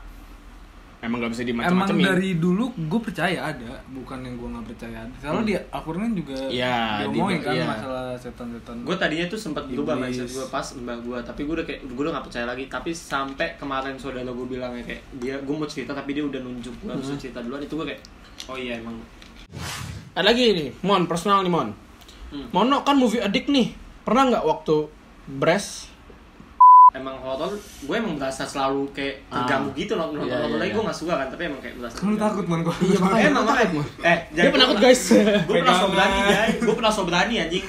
[SPEAKER 2] emang gak bisa ya.
[SPEAKER 1] Emang
[SPEAKER 2] dimacam-macamin.
[SPEAKER 1] dari dulu gue percaya ada, bukan yang gue nggak percaya ada. Soalnya di Al-Quran juga
[SPEAKER 2] Iya,
[SPEAKER 1] diomongin
[SPEAKER 2] di-
[SPEAKER 1] kan
[SPEAKER 2] iya.
[SPEAKER 1] masalah setan-setan.
[SPEAKER 3] gue tadinya tuh sempat berubah
[SPEAKER 1] Iblis.
[SPEAKER 3] mindset gue pas mbak gue tapi gue udah kayak gue udah gak percaya lagi tapi sampai kemarin saudara gue bilangnya kayak dia gue mau cerita tapi dia udah nunjuk
[SPEAKER 2] Hmm.
[SPEAKER 3] gue harus cerita duluan itu gue kayak oh iya emang
[SPEAKER 2] Ada lagi nih, Mon personal nih Mon.
[SPEAKER 3] Hmm.
[SPEAKER 2] Mono kan movie addict nih. Pernah nggak waktu breast
[SPEAKER 3] emang horor gue emang berasa selalu kayak terganggu gitu
[SPEAKER 2] Iya,
[SPEAKER 3] nonton nonton
[SPEAKER 2] iya,
[SPEAKER 3] nonton lagi
[SPEAKER 2] iya.
[SPEAKER 3] gue gak suka kan tapi emang kayak berasa
[SPEAKER 1] Kamu
[SPEAKER 3] terganggu.
[SPEAKER 1] takut man Iya, gue.
[SPEAKER 3] Eh, emang
[SPEAKER 2] Takut,
[SPEAKER 3] makanya.
[SPEAKER 2] Mon.
[SPEAKER 3] eh
[SPEAKER 2] Dia penakut guys. [LAUGHS]
[SPEAKER 3] gue pernah
[SPEAKER 1] Pegangan.
[SPEAKER 3] sobrani guys gue pernah sobrani anjing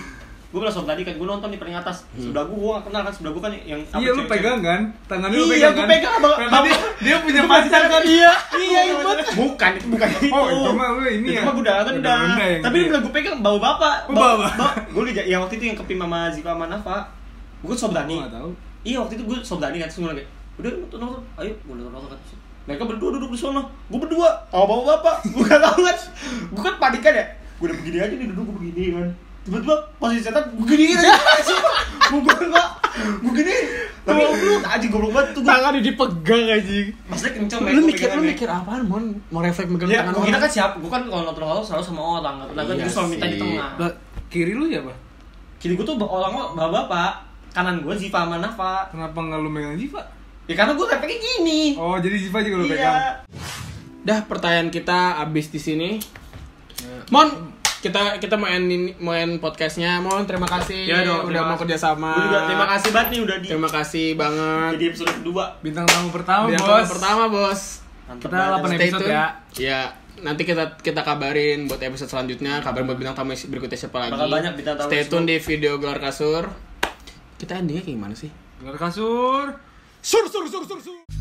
[SPEAKER 3] gue pernah sobrani kan gue nonton di paling atas
[SPEAKER 1] Hmm.
[SPEAKER 3] sebelah gue gue gak kenal kan sebelah gue kan yang
[SPEAKER 1] Iya
[SPEAKER 3] apa
[SPEAKER 1] lu
[SPEAKER 3] cewek-cewek.
[SPEAKER 1] pegang kan? Tangannya lu
[SPEAKER 3] iya
[SPEAKER 1] pegang
[SPEAKER 3] gue
[SPEAKER 1] kan?
[SPEAKER 3] pegang abang
[SPEAKER 1] Karena dia, dia punya pacar kan?
[SPEAKER 3] iya iya ibut bukan itu bukan itu
[SPEAKER 1] Oh, itu mah lu ini ya?
[SPEAKER 3] itu mah gue udah
[SPEAKER 1] Udah
[SPEAKER 3] rendah
[SPEAKER 1] rendah yang
[SPEAKER 3] tapi
[SPEAKER 1] gede.
[SPEAKER 3] dia bilang gue pegang bau bapak
[SPEAKER 1] Oh, bau bapak.
[SPEAKER 3] gue lihat yang waktu itu yang kepim sama Ziva sama Nafa kan gue sobrani
[SPEAKER 1] Gua nggak tahu.
[SPEAKER 3] Iya waktu itu gue sobrani kan semua kayak udah nonton nonton ayo gue nonton nonton kan mereka berdua duduk di sana gue berdua sama bapak [LAUGHS] bapak gue gak tau kan gue kan panikan ya gue udah begini aja nih duduk gue begini kan tiba-tiba posisi setan gue gini aja gue enggak gue gini tapi goblok aja goblok banget tuh gue
[SPEAKER 2] tangan dipegang anjing.
[SPEAKER 3] maksudnya kenceng
[SPEAKER 2] Lu mikir lu mikir apaan Mon? Mau refleks megang
[SPEAKER 3] ya
[SPEAKER 2] tangan
[SPEAKER 3] gue kira
[SPEAKER 2] orang?
[SPEAKER 3] kan siap gue kan kalau nonton horor selalu sama orang nggak pernah kan
[SPEAKER 2] Iya
[SPEAKER 3] gue selalu minta di
[SPEAKER 2] sih.
[SPEAKER 3] tengah
[SPEAKER 1] Lah, kiri lu ya, Pak?
[SPEAKER 3] kiri gue tuh orang bapak bapak kanan gue Ziva sama Nafa
[SPEAKER 1] Kenapa nggak lu megang Ziva?
[SPEAKER 3] ya karena gue refleksnya gini
[SPEAKER 1] Oh, jadi Ziva juga lu pegang.
[SPEAKER 3] iya
[SPEAKER 2] Dah pertanyaan kita abis di sini. Mon, kita kita main ini- main podcastnya. Mohon terima kasih
[SPEAKER 3] Ya
[SPEAKER 2] udah
[SPEAKER 3] dong, terima
[SPEAKER 2] mau
[SPEAKER 3] kasih.
[SPEAKER 2] kerjasama.
[SPEAKER 3] Gua juga terima kasih banget nih udah di
[SPEAKER 2] Terima kasih banget.
[SPEAKER 3] jadi episode kedua.
[SPEAKER 1] Bintang tamu pertama,
[SPEAKER 2] Dia
[SPEAKER 1] Bos.
[SPEAKER 2] pertama bos.
[SPEAKER 3] Mantap
[SPEAKER 1] Kita
[SPEAKER 3] banget.
[SPEAKER 1] 8
[SPEAKER 2] Stay
[SPEAKER 1] episode
[SPEAKER 2] tune.
[SPEAKER 1] ya.
[SPEAKER 2] Ya nanti kita kita kabarin buat episode selanjutnya, kabarin buat bintang tamu berikutnya siapa lagi.
[SPEAKER 3] Bakal banyak bintang tamu
[SPEAKER 2] Stay
[SPEAKER 3] semua.
[SPEAKER 2] tune di video gelar kasur. Kita endingnya kayak gimana sih?
[SPEAKER 1] Gelar kasur.
[SPEAKER 2] Sur sur sur sur sur.